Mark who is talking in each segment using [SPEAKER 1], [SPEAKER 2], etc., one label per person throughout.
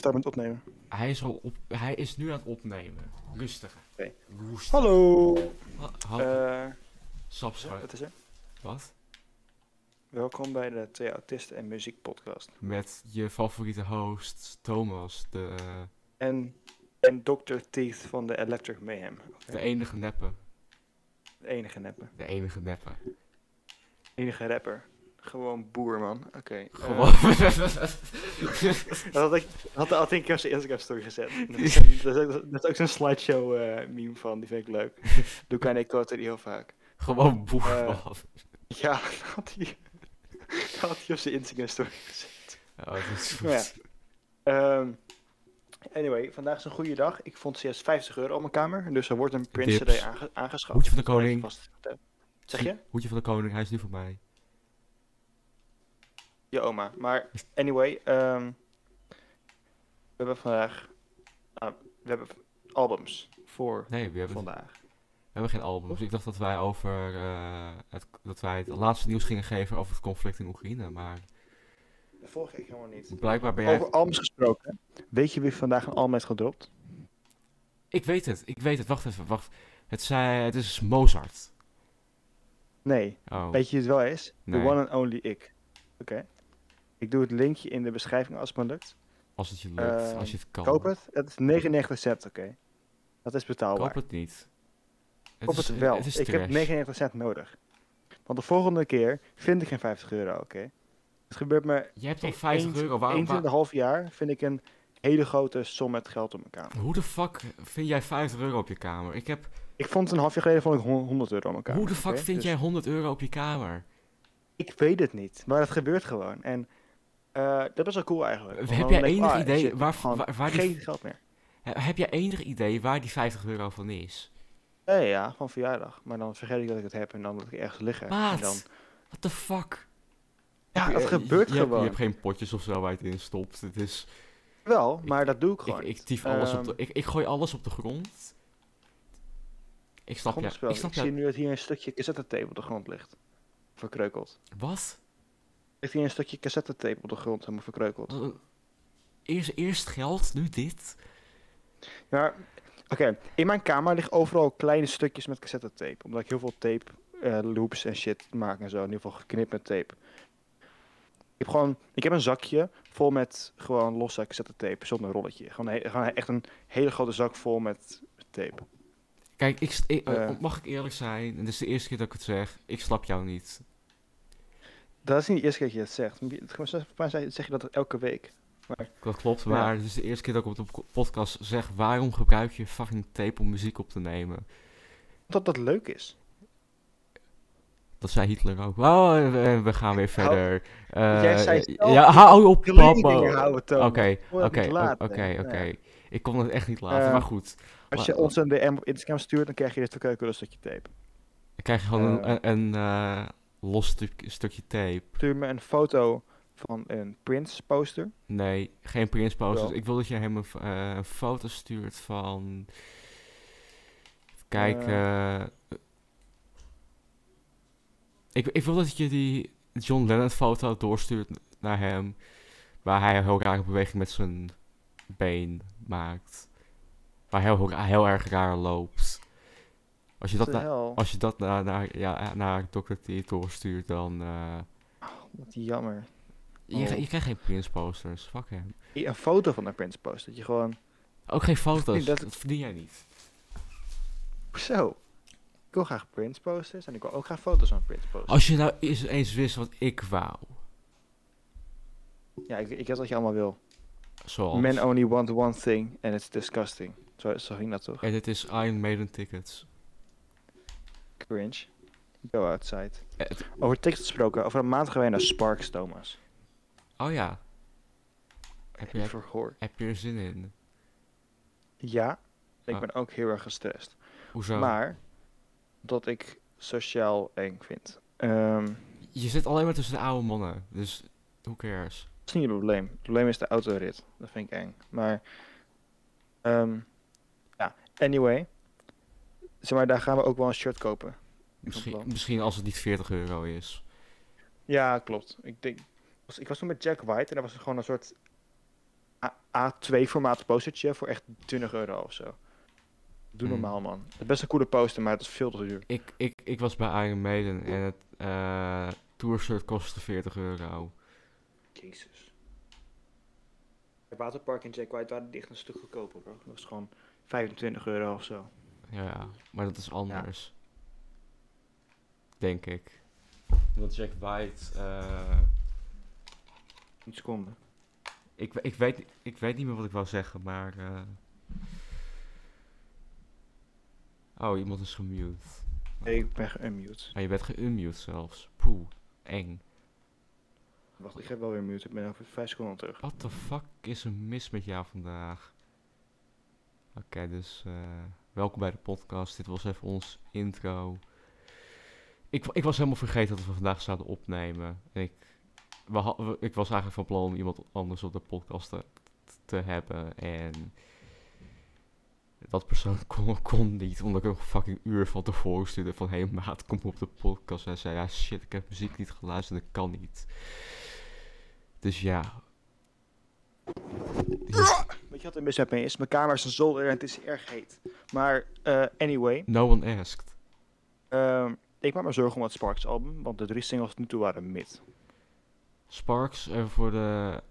[SPEAKER 1] daar bent opnemen.
[SPEAKER 2] Hij is, al op, hij is nu aan het opnemen. Rustig.
[SPEAKER 1] Oké.
[SPEAKER 2] Roest.
[SPEAKER 1] Hallo!
[SPEAKER 2] Ha- ha-
[SPEAKER 1] Eh
[SPEAKER 2] Sap,
[SPEAKER 1] ja, wat is er?
[SPEAKER 2] Wat?
[SPEAKER 1] Welkom bij de Twee Autisten en Muziek Podcast.
[SPEAKER 2] Met je favoriete host, Thomas. De, eh,
[SPEAKER 1] En, en Dr. Teeth van de Electric Mayhem.
[SPEAKER 2] de enige neppe.
[SPEAKER 1] De enige neppe.
[SPEAKER 2] De enige neppe.
[SPEAKER 1] Eh. Enige rapper. Gewoon boer, man. Oké. eh,
[SPEAKER 2] Gewoon.
[SPEAKER 1] dat had, ik, dat had de Atink op zijn Instagram story gezet. Dat is, een- dat is ook- dat is ook zo'n slideshow eh, meme van, die vind ik leuk. Doe ik aan de quote die heel vaak.
[SPEAKER 2] Gewoon boer.
[SPEAKER 1] Eh.
[SPEAKER 2] man.
[SPEAKER 1] Ja, dat had hij, dat had hij op zijn Instagram story gezet.
[SPEAKER 2] Oh, dat is goed.
[SPEAKER 1] Ja. Ehm, anyway, vandaag is een goede dag. Ik vond CS 50 euro op mijn kamer. Dus er wordt een Prince
[SPEAKER 2] Dips.
[SPEAKER 1] CD aange- aangeschaft.
[SPEAKER 2] Hoedje van de
[SPEAKER 1] Dat
[SPEAKER 2] koning.
[SPEAKER 1] is vast- Zeg je?
[SPEAKER 2] Hoedje van de koning, hij is nu voor mij.
[SPEAKER 1] Je oma. Maar anyway, ehm, we hebben vandaag. ah, we hebben albums voor
[SPEAKER 2] Nee, we hebben, we
[SPEAKER 1] vandaag.
[SPEAKER 2] hebben geen album. Dus ik dacht dat wij over eh, het, dat wij het laatste nieuws gingen geven over het conflict in Oekraïne. Maar
[SPEAKER 1] De vorige ik helemaal niet.
[SPEAKER 2] blijkbaar ben jij.
[SPEAKER 1] Over albums gesproken. Weet je wie vandaag een album heeft gedropt?
[SPEAKER 2] Ik weet het, ik weet het. Wacht even, wacht. Het, zei, het is Mozart.
[SPEAKER 1] Nee.
[SPEAKER 2] Oh.
[SPEAKER 1] Weet je wie het wel is?
[SPEAKER 2] Nee.
[SPEAKER 1] The one and only ik. Oké. Ik doe het linkje in de beschrijving als het me lukt.
[SPEAKER 2] Als het je lukt,
[SPEAKER 1] Ehm,
[SPEAKER 2] als je het kan.
[SPEAKER 1] Koop het. Het is 99 cent, oké. Dat is betaalbaar.
[SPEAKER 2] Koop het niet. Het
[SPEAKER 1] Koop
[SPEAKER 2] is-
[SPEAKER 1] het, wel.
[SPEAKER 2] is
[SPEAKER 1] ik heb
[SPEAKER 2] trash.
[SPEAKER 1] 99 cent nodig. Want de volgende keer vind ik geen 50 euro, oké. Het gebeurt me
[SPEAKER 2] Je hebt al
[SPEAKER 1] Eén-
[SPEAKER 2] 50 euro. Waarom,
[SPEAKER 1] eens in
[SPEAKER 2] waar-
[SPEAKER 1] een half jaar vind ik een hele grote som met geld op mijn kamer.
[SPEAKER 2] hoe de fuck vind jij 50 euro op je kamer? Ik heb,
[SPEAKER 1] Ik vond het een half jaar geleden vond ik hon- 100 euro op mijn kamer.
[SPEAKER 2] hoe de fuck
[SPEAKER 1] oké?
[SPEAKER 2] vind
[SPEAKER 1] Dus
[SPEAKER 2] jij 100 euro op je kamer?
[SPEAKER 1] Ik weet het niet, maar het gebeurt gewoon. En eh, dat is wel cool eigenlijk. Want
[SPEAKER 2] heb
[SPEAKER 1] dan
[SPEAKER 2] jij
[SPEAKER 1] denk ik,
[SPEAKER 2] enig
[SPEAKER 1] ah,
[SPEAKER 2] idee
[SPEAKER 1] shit,
[SPEAKER 2] waar,
[SPEAKER 1] gewoon
[SPEAKER 2] waar, waar die,
[SPEAKER 1] geen geld meer.
[SPEAKER 2] he- heb jij enig idee waar die 50 euro van is?
[SPEAKER 1] Nee, Eh, ja, van verjaardag. Maar dan vergeet ik dat ik het heb en dan dat ik ergens liggen. En
[SPEAKER 2] Maat,
[SPEAKER 1] dan,
[SPEAKER 2] what the fuck?
[SPEAKER 1] ja, dat
[SPEAKER 2] Eh,
[SPEAKER 1] gebeurt
[SPEAKER 2] je, je hebt-
[SPEAKER 1] gewoon.
[SPEAKER 2] Je hebt geen potjes of zo waar je het in stopt. Het is...
[SPEAKER 1] Wel,
[SPEAKER 2] Ik-
[SPEAKER 1] maar dat doe ik
[SPEAKER 2] Ik,
[SPEAKER 1] gewoon.
[SPEAKER 2] ik
[SPEAKER 1] niet.
[SPEAKER 2] tief alles op
[SPEAKER 1] Ehm,
[SPEAKER 2] de... Ik, ik gooi alles op de grond. Ik snap
[SPEAKER 1] grond is
[SPEAKER 2] je.
[SPEAKER 1] wel-
[SPEAKER 2] Ik snap
[SPEAKER 1] zie
[SPEAKER 2] je.
[SPEAKER 1] nu dat hier een stukje cassettetape op de grond ligt. Verkreukeld.
[SPEAKER 2] Wat?
[SPEAKER 1] Ligt hier een stukje cassettetape op de grond helemaal verkreukeld.
[SPEAKER 2] Wat een- Eerst, eerst geld, nu dit?
[SPEAKER 1] Ja, oké. In mijn kamer liggen overal kleine stukjes met cassettetape. Omdat ik heel veel tape, eh, loops en shit maak en zo. In ieder geval geknipt met tape. Ik heb gewoon... Ik heb een zakje vol met gewoon losse cassettetape zonder rolletje. Gewoon, he- gewoon echt een hele grote zak vol met tape.
[SPEAKER 2] Kijk, ik, st- ik- eh,
[SPEAKER 1] Eh.
[SPEAKER 2] mag ik eerlijk zijn? Dit is de eerste keer dat ik het zeg. Ik snap jou niet.
[SPEAKER 1] Dat is niet de eerste keer dat je dat zegt. Volgens mij zeg je dat elke week.
[SPEAKER 2] Dat klopt,
[SPEAKER 1] Ja.
[SPEAKER 2] maar het is de eerste keer dat ik op de po- podcast zeg... waarom gebruik je fucking tape om muziek op te nemen?
[SPEAKER 1] Omdat dat leuk is.
[SPEAKER 2] Dat zei Hitler ook. Oh, eh, we gaan weer
[SPEAKER 1] Hou-
[SPEAKER 2] verder. Eh,
[SPEAKER 1] Jij zei zelf
[SPEAKER 2] ja, hou op,
[SPEAKER 1] Kleine
[SPEAKER 2] papa.
[SPEAKER 1] dingen houden, Toon.
[SPEAKER 2] Oké,
[SPEAKER 1] Hoor dat
[SPEAKER 2] oké,
[SPEAKER 1] niet laten.
[SPEAKER 2] oké,
[SPEAKER 1] Ja.
[SPEAKER 2] oké. Ik kon het echt niet laten,
[SPEAKER 1] Eh,
[SPEAKER 2] maar goed.
[SPEAKER 1] Als je
[SPEAKER 2] Maar-
[SPEAKER 1] ons een DM op Instagram stuurt, dan krijg je dus dit verkeukelde stukje tape.
[SPEAKER 2] Dan krijg je gewoon
[SPEAKER 1] Eh.
[SPEAKER 2] een, een, eh, los stuk- stukje tape.
[SPEAKER 1] Stuur me een foto van een Prince poster.
[SPEAKER 2] Nee, geen prins posters.
[SPEAKER 1] Wel.
[SPEAKER 2] Ik wil dat je hem een, f- eh, een foto stuurt van... Even kijken... eh, ik, ik wil dat je die John Lennon foto doorstuurt naar hem. Waar hij een heel rare beweging met zijn been maakt. Waar hij heel, heel erg raar loopt. Als je dat, nou-
[SPEAKER 1] What
[SPEAKER 2] na-
[SPEAKER 1] the hell?
[SPEAKER 2] als je dat naar, naar, ja, naar Dr. T doorstuurt, dan... eh,
[SPEAKER 1] Wat jammer.
[SPEAKER 2] Je,
[SPEAKER 1] Oh.
[SPEAKER 2] je krijgt geen Prince posters. Fuck hem.
[SPEAKER 1] Hier, Een foto van een Prince poster. Dat je gewoon...
[SPEAKER 2] Ook geen foto's.
[SPEAKER 1] Dat-
[SPEAKER 2] Dat, verdien jij niet.
[SPEAKER 1] Zo. Ik wil graag Prince posters en ik wil ook graag foto's van Prince posters.
[SPEAKER 2] Als je nou eens, eens wist wat ik wou. Oh.
[SPEAKER 1] Ja, ik, ik weet wat je allemaal wil.
[SPEAKER 2] Zoals.
[SPEAKER 1] Men only want one thing and it's disgusting. Zo, zo ging dat toch?
[SPEAKER 2] en het is Iron Maiden tickets.
[SPEAKER 1] Cringe. Go outside.
[SPEAKER 2] Eh, het-
[SPEAKER 1] Over tekst gesproken. Over een maand gaan wij naar Sparks, Thomas.
[SPEAKER 2] oh ja. Heb je,
[SPEAKER 1] Heb je
[SPEAKER 2] heb,
[SPEAKER 1] verhoord?
[SPEAKER 2] je er zin in?
[SPEAKER 1] Ja. Ik
[SPEAKER 2] Ah.
[SPEAKER 1] ben ook heel erg gestrest.
[SPEAKER 2] Hoezo?
[SPEAKER 1] Maar dat ik sociaal eng vind. Ehm,
[SPEAKER 2] Je zit alleen maar tussen de oude mannen. Dus who cares?
[SPEAKER 1] dat is niet het probleem. Het probleem is de autorit. Dat vind ik eng. Maar ehm, ja, anyway. Zeg maar, daar gaan we ook wel een shirt kopen.
[SPEAKER 2] Misschien,
[SPEAKER 1] plan.
[SPEAKER 2] misschien als het niet 40 euro is.
[SPEAKER 1] Ja, klopt. Ik, denk, was- ik was toen met Jack White en dat was gewoon een soort A2-formaat postertje voor echt 20 euro of zo. Doe
[SPEAKER 2] Hmm.
[SPEAKER 1] normaal, man. Het is best een coole poster, maar het is veel te duur.
[SPEAKER 2] Ik, ik, ik was bij Iron Maiden en het eh tourshirt kostte 40 euro.
[SPEAKER 1] Jezus. Het waterpark en Jack White waren dicht een stuk goedkoper, bro. Dat was gewoon 25 euro of zo.
[SPEAKER 2] Ja, maar dat is anders. Denk ik. Want Jack White... eh,
[SPEAKER 1] Niet seconde.
[SPEAKER 2] ik, ik, weet, ik weet niet meer wat ik wou zeggen, maar... eh, Oh, iemand is gemute.
[SPEAKER 1] Ik ben geunmute.
[SPEAKER 2] Ah, je bent geunmute zelfs. Poeh, eng.
[SPEAKER 1] Wacht, ik ga wel weer mute. Ik ben over 5 seconden terug.
[SPEAKER 2] What the fuck is er mis met jou vandaag? Oké, dus eh, welkom bij de podcast. Dit was even ons intro. Ik, wa- ik was helemaal vergeten dat we vandaag zouden opnemen. En Ik, we ha- we- ik was eigenlijk van plan om iemand anders op de podcast te, te hebben. En dat persoon kon, kon niet, omdat ik een fucking uur van tevoren stuurde van... Hé hey, maat, kom op de podcast. En hij zei, ja shit, ik heb muziek niet geluisterd, dat kan niet. Dus ja,
[SPEAKER 1] Weet je wat er mis met mij is? Mijn kamer is een zolder en het is erg heet. Maar, eh, anyway.
[SPEAKER 2] No one asked.
[SPEAKER 1] ehm, ik maak me zorgen om het Sparks album, want de drie singles tot nu toe waren mid.
[SPEAKER 2] Sparks, even voor de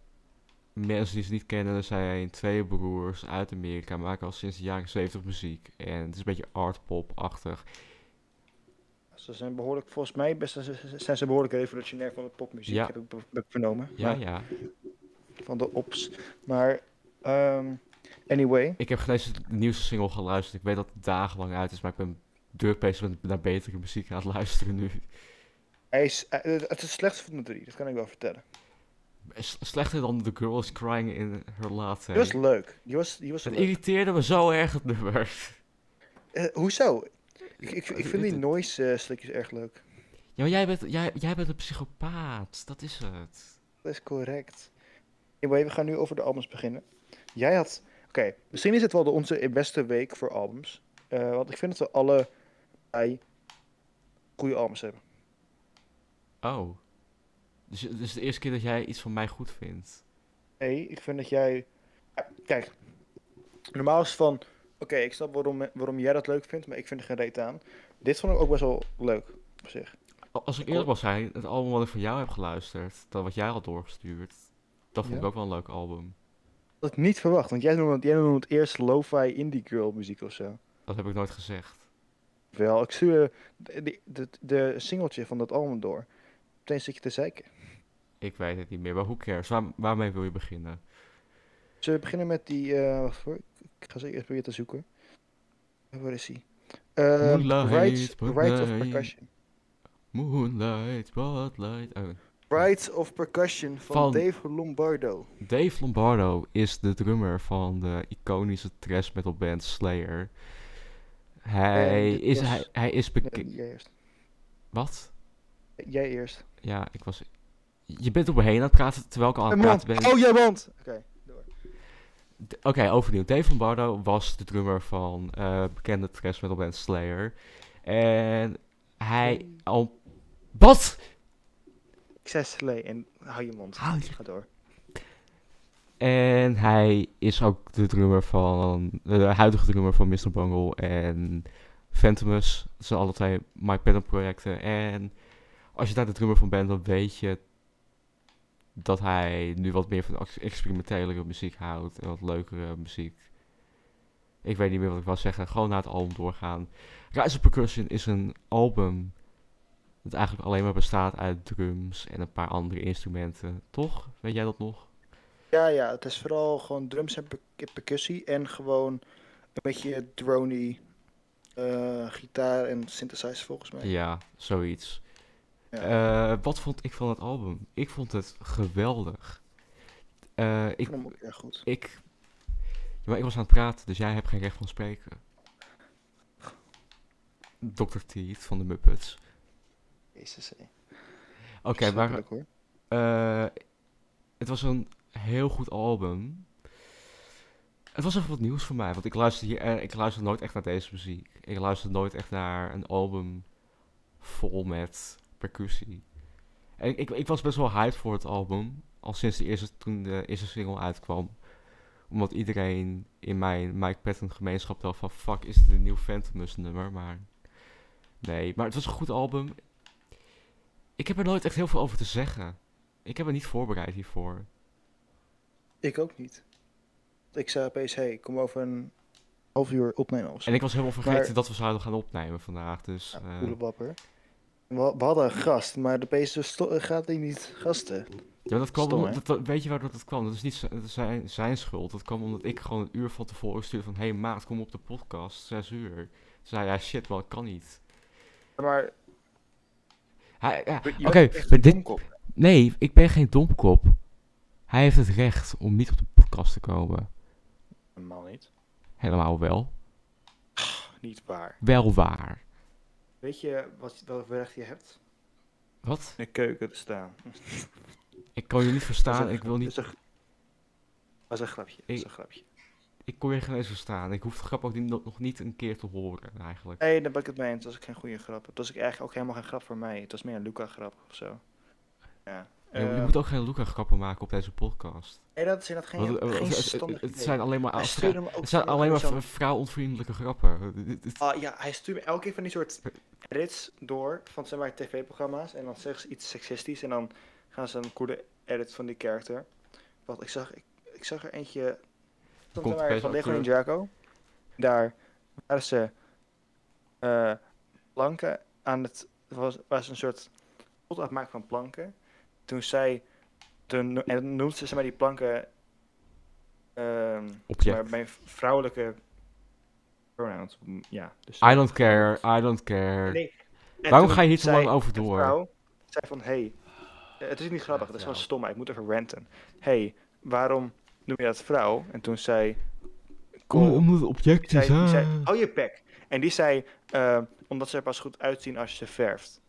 [SPEAKER 2] mensen die ze niet kennen, er zijn twee broers uit Amerika, maken al sinds de jaren 70 muziek. En het is een beetje artpop-achtig.
[SPEAKER 1] Ze zijn behoorlijk, volgens mij best, ze- ze- zijn ze behoorlijk revolutionair van de popmuziek,
[SPEAKER 2] Ja.
[SPEAKER 1] heb, ik, be- heb ik vernomen.
[SPEAKER 2] Ja,
[SPEAKER 1] Maar-
[SPEAKER 2] ja.
[SPEAKER 1] Van de ops. Maar, ehm, anyway.
[SPEAKER 2] Ik heb geen eens de nieuwste single geluisterd. Ik weet dat het dagenlang uit is, maar ik ben druk bezig met naar betere muziek aan het luisteren nu.
[SPEAKER 1] Hij is, eh, het is het slechtste van de drie, dat kan ik wel vertellen.
[SPEAKER 2] S- Slechter dan The Girl is Crying in Her Latte.
[SPEAKER 1] Die was leuk. Die was, die was
[SPEAKER 2] Het
[SPEAKER 1] leuk.
[SPEAKER 2] irriteerde me zo erg, het nummer.
[SPEAKER 1] Eh, hoezo? Ik, ik, ik vind die
[SPEAKER 2] Het-
[SPEAKER 1] noise eh, stukjes erg leuk.
[SPEAKER 2] Ja, maar jij bent, jij, jij bent een psychopaat. Dat is het.
[SPEAKER 1] Dat is correct. Anyway, we gaan nu over de albums beginnen. Jij had... Oké, misschien is het wel de onze beste week voor albums. Eh, want ik vind dat we alle bij goede albums hebben.
[SPEAKER 2] Oh. Dus het is de eerste keer dat jij iets van mij goed vindt.
[SPEAKER 1] Nee, ik vind dat jij... Ja, Kijk, normaal is het van... Oké, ik snap waarom, eh, waarom jij dat leuk vindt, maar ik vind er geen reet aan. Dit vond ik ook best wel leuk op zich.
[SPEAKER 2] Al- Als ik eerlijk mag zijn, het album wat ik van jou heb geluisterd, dat wat jij had doorgestuurd, dat vond ik
[SPEAKER 1] Ja.
[SPEAKER 2] ook wel een leuk album.
[SPEAKER 1] Dat had ik niet verwacht, want jij noemde, jij noemde het eerst lo-fi indie girl muziek of zo.
[SPEAKER 2] Dat heb ik nooit gezegd.
[SPEAKER 1] Wel, ik stuurde de, de, de, de singeltje van dat album door. Meteen zit je te zeiken.
[SPEAKER 2] Ik weet het niet meer, maar who cares? Waar, waarmee wil je beginnen?
[SPEAKER 1] Zullen we beginnen met die... eh, wacht hoor, ik- ik ga ze eerst proberen te zoeken. Eh, Waar is hij? Eh
[SPEAKER 2] Moonlight,
[SPEAKER 1] Rights, Rights of
[SPEAKER 2] Moonlight.
[SPEAKER 1] Percussion.
[SPEAKER 2] Moonlight, Spotlight... Oh.
[SPEAKER 1] Rights of Percussion van,
[SPEAKER 2] Van-
[SPEAKER 1] Dave Lombardo.
[SPEAKER 2] Dave Lombardo is de drummer van de iconische thrash metal band Slayer. Hij,
[SPEAKER 1] dit
[SPEAKER 2] is,
[SPEAKER 1] was-
[SPEAKER 2] hij, hij is
[SPEAKER 1] Nee,
[SPEAKER 2] bekend...
[SPEAKER 1] jij eerst.
[SPEAKER 2] Wat?
[SPEAKER 1] Jij eerst.
[SPEAKER 2] Ja, ik was... Je bent op me heen aan het praten, terwijl ik al aan het
[SPEAKER 1] Een mand.
[SPEAKER 2] praten ben.
[SPEAKER 1] Oh, jij mond! Oké, door.
[SPEAKER 2] D- Oké, overnieuw. Dave Lombardo was de drummer van eh, bekende thrash metal band Slayer. En hij al... Wat?
[SPEAKER 1] Ik zei slee en hou je mond.
[SPEAKER 2] Hou je-
[SPEAKER 1] Ga door.
[SPEAKER 2] En hij is ook de drummer van... De huidige drummer van Mr. Bungle en Phantomus. Dat zijn alle twee My Pattern projecten. En als je daar de drummer van bent, dan weet je... Dat hij nu wat meer van ex- experimentelere muziek houdt. En wat leukere muziek. Ik weet niet meer wat ik wou zeggen. Gewoon naar het album doorgaan. Rise of Percussion is een album... Dat eigenlijk alleen maar bestaat uit drums en een paar andere instrumenten. Toch? Weet jij dat nog?
[SPEAKER 1] Ja, ja, het is vooral gewoon drums en per- percussie en gewoon een beetje drony eh, gitaar en synthesizer volgens mij.
[SPEAKER 2] Ja, zoiets.
[SPEAKER 1] Ja.
[SPEAKER 2] Eh, wat vond ik van het album? Ik vond het geweldig. Eh,
[SPEAKER 1] ik
[SPEAKER 2] ik,
[SPEAKER 1] vond hem ook erg goed.
[SPEAKER 2] ik, Ja, maar ik was aan het praten, dus jij hebt geen recht van spreken. Dr. Teeth van de Muppets.
[SPEAKER 1] Jezus, hé.
[SPEAKER 2] Oké, maar
[SPEAKER 1] Snapelijk, hoor.
[SPEAKER 2] eh, het was een heel goed album. Het was even wat nieuws voor mij, want ik luister, hier, eh, ik luister nooit echt naar deze muziek. Ik luister nooit echt naar een album vol met percussie. En ik, ik was best wel hyped voor het album, al sinds de eerste, toen de eerste single uitkwam. Omdat iedereen in mijn Mike Patton gemeenschap dacht van... Fuck, is het een nieuw Phantomus nummer? Maar nee, maar het was een goed album. Ik heb er nooit echt heel veel over te zeggen. Ik heb me niet voorbereid hiervoor.
[SPEAKER 1] Ik ook niet. Ik zei opeens, hey, kom over een half uur opnemen of zo.
[SPEAKER 2] En ik was helemaal vergeten
[SPEAKER 1] Maar-
[SPEAKER 2] dat we zouden gaan opnemen vandaag. Dus
[SPEAKER 1] Ja,
[SPEAKER 2] eh,
[SPEAKER 1] Koele wapper. We, we hadden een gast, maar de PS dus sto- gaat hij niet gasten.
[SPEAKER 2] Ja, dat kwam
[SPEAKER 1] Stom,
[SPEAKER 2] omdat-
[SPEAKER 1] hè?
[SPEAKER 2] dat, dat- weet je waar dat kwam? Dat is niet z- dat is zijn, zijn schuld. Dat kwam omdat ik gewoon een uur van tevoren stuurde van... Hé hey, maat, kom op de podcast, zes uur. Toen zei hij, shit man, kan niet.
[SPEAKER 1] Maar
[SPEAKER 2] Hij, ja,
[SPEAKER 1] je bent
[SPEAKER 2] Oké,
[SPEAKER 1] echt
[SPEAKER 2] maar
[SPEAKER 1] een
[SPEAKER 2] dit-
[SPEAKER 1] domkop.
[SPEAKER 2] nee, ik ben geen domkop. Hij heeft het recht om niet op de podcast te komen.
[SPEAKER 1] Helemaal niet.
[SPEAKER 2] Helemaal wel.
[SPEAKER 1] Niet waar.
[SPEAKER 2] Wel waar.
[SPEAKER 1] Weet je wat, wat voor recht je hebt?
[SPEAKER 2] Wat?
[SPEAKER 1] In de keuken te staan.
[SPEAKER 2] Ik kan je niet verstaan. Ik wil niet...
[SPEAKER 1] Dat is een, dat is een grapje. Dat is
[SPEAKER 2] Ik-
[SPEAKER 1] een grapje.
[SPEAKER 2] Ik kon je geen eens verstaan. Ik hoef de grap ook niet, nog niet een keer te horen, eigenlijk.
[SPEAKER 1] Nee, daar ben ik het mee eens. Dat is ook geen goede grap. Dat was ook eigenlijk ook helemaal geen grap voor mij. Het was meer een Luca-grap of zo. Ja.
[SPEAKER 2] Je moet- je
[SPEAKER 1] Eh,
[SPEAKER 2] moet ook geen Luca-grappen maken op deze podcast.
[SPEAKER 1] nee, dat zijn dat geen,
[SPEAKER 2] Want, eh,
[SPEAKER 1] geen
[SPEAKER 2] het- het-
[SPEAKER 1] verstandig
[SPEAKER 2] het
[SPEAKER 1] idee.
[SPEAKER 2] zijn alleen maar...
[SPEAKER 1] Hij
[SPEAKER 2] afstra-
[SPEAKER 1] stuurde me ook
[SPEAKER 2] Het zijn
[SPEAKER 1] van die
[SPEAKER 2] alleen maar
[SPEAKER 1] zo'n-
[SPEAKER 2] v- vrouwonvriendelijke grappen. Dit- dit-
[SPEAKER 1] Ah ja, hij stuurt me elke keer van die soort edits door van zeg maar tv-programma's. En dan zeggen ze iets seksistisch en dan gaan ze een coole edit van die character. Want ik zag, ik, ik zag er eentje stond
[SPEAKER 2] Komt
[SPEAKER 1] zeg maar,
[SPEAKER 2] opeens
[SPEAKER 1] van Lego
[SPEAKER 2] ook terug.
[SPEAKER 1] Ninjago. Daar waren ze eh, planken aan het... was, was een soort pot aan het maken van planken. Toen zij... Toen, en dan noemt ze zeg maar die planken... ehm,
[SPEAKER 2] Object.
[SPEAKER 1] maar mijn vrouwelijke pronouns. m, Ja, dus
[SPEAKER 2] I don't care, I don't care.
[SPEAKER 1] Nee, en
[SPEAKER 2] Waarom
[SPEAKER 1] toen
[SPEAKER 2] ga je hier zo
[SPEAKER 1] zei
[SPEAKER 2] lang over
[SPEAKER 1] een
[SPEAKER 2] door?
[SPEAKER 1] vrouw, zei van, hey, eh, het is niet grappig, het is gewoon
[SPEAKER 2] vrouw.
[SPEAKER 1] stom, maar ik moet even ranten. hey, waarom noem je dat vrouw? En toen zei...
[SPEAKER 2] Om,
[SPEAKER 1] Cole,
[SPEAKER 2] omdat het object
[SPEAKER 1] die
[SPEAKER 2] is,
[SPEAKER 1] zei, die zei, oh,
[SPEAKER 2] ah.
[SPEAKER 1] hou je bek. En die zei, eh, omdat ze er pas goed uitzien als je ze verft.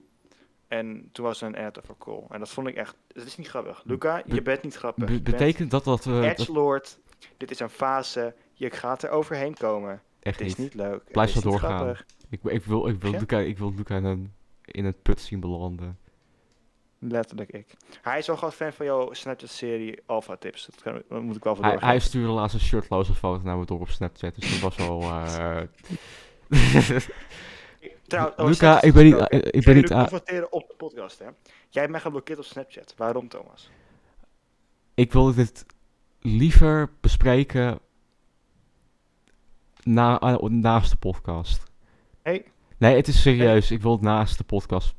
[SPEAKER 1] En toen was er een ad over Cole. En dat vond ik echt, dat is niet grappig. Luca,
[SPEAKER 2] Be-
[SPEAKER 1] je bent niet grappig.
[SPEAKER 2] Be-
[SPEAKER 1] Je bent
[SPEAKER 2] betekent dat dat we... dat-
[SPEAKER 1] Edgelord, dit is een fase, je gaat er overheen komen.
[SPEAKER 2] echt
[SPEAKER 1] Het is niet
[SPEAKER 2] niet.
[SPEAKER 1] leuk. het is
[SPEAKER 2] Blijf zo
[SPEAKER 1] niet
[SPEAKER 2] doorgaan.
[SPEAKER 1] grappig.
[SPEAKER 2] Ik, ik wil, ik wil
[SPEAKER 1] Ja?
[SPEAKER 2] Luca, ik wil Luca in een, in een put zien belanden.
[SPEAKER 1] Letterlijk ik. Hij is wel groot fan van jouw Snapchat-serie Alpha Tips. Dat, kan, dat moet ik wel voor
[SPEAKER 2] Hij,
[SPEAKER 1] doorgaan.
[SPEAKER 2] hij stuurde laatst een shirtloze foto naar me door op Snapchat, dus dat was wel... eh,
[SPEAKER 1] Trouwens, oh, over
[SPEAKER 2] Luca,
[SPEAKER 1] Snapchat
[SPEAKER 2] ik ben niet...
[SPEAKER 1] gesproken.
[SPEAKER 2] eh, Ik
[SPEAKER 1] Ga
[SPEAKER 2] ben
[SPEAKER 1] je
[SPEAKER 2] niet...
[SPEAKER 1] nu
[SPEAKER 2] a-
[SPEAKER 1] confronteren op de podcast, hè? Jij hebt mij geblokkeerd op Snapchat. Waarom, Thomas?
[SPEAKER 2] Ik wil dit liever bespreken na, eh, naast de podcast.
[SPEAKER 1] Hey.
[SPEAKER 2] Nee, het is serieus. Ik wil het naast de podcast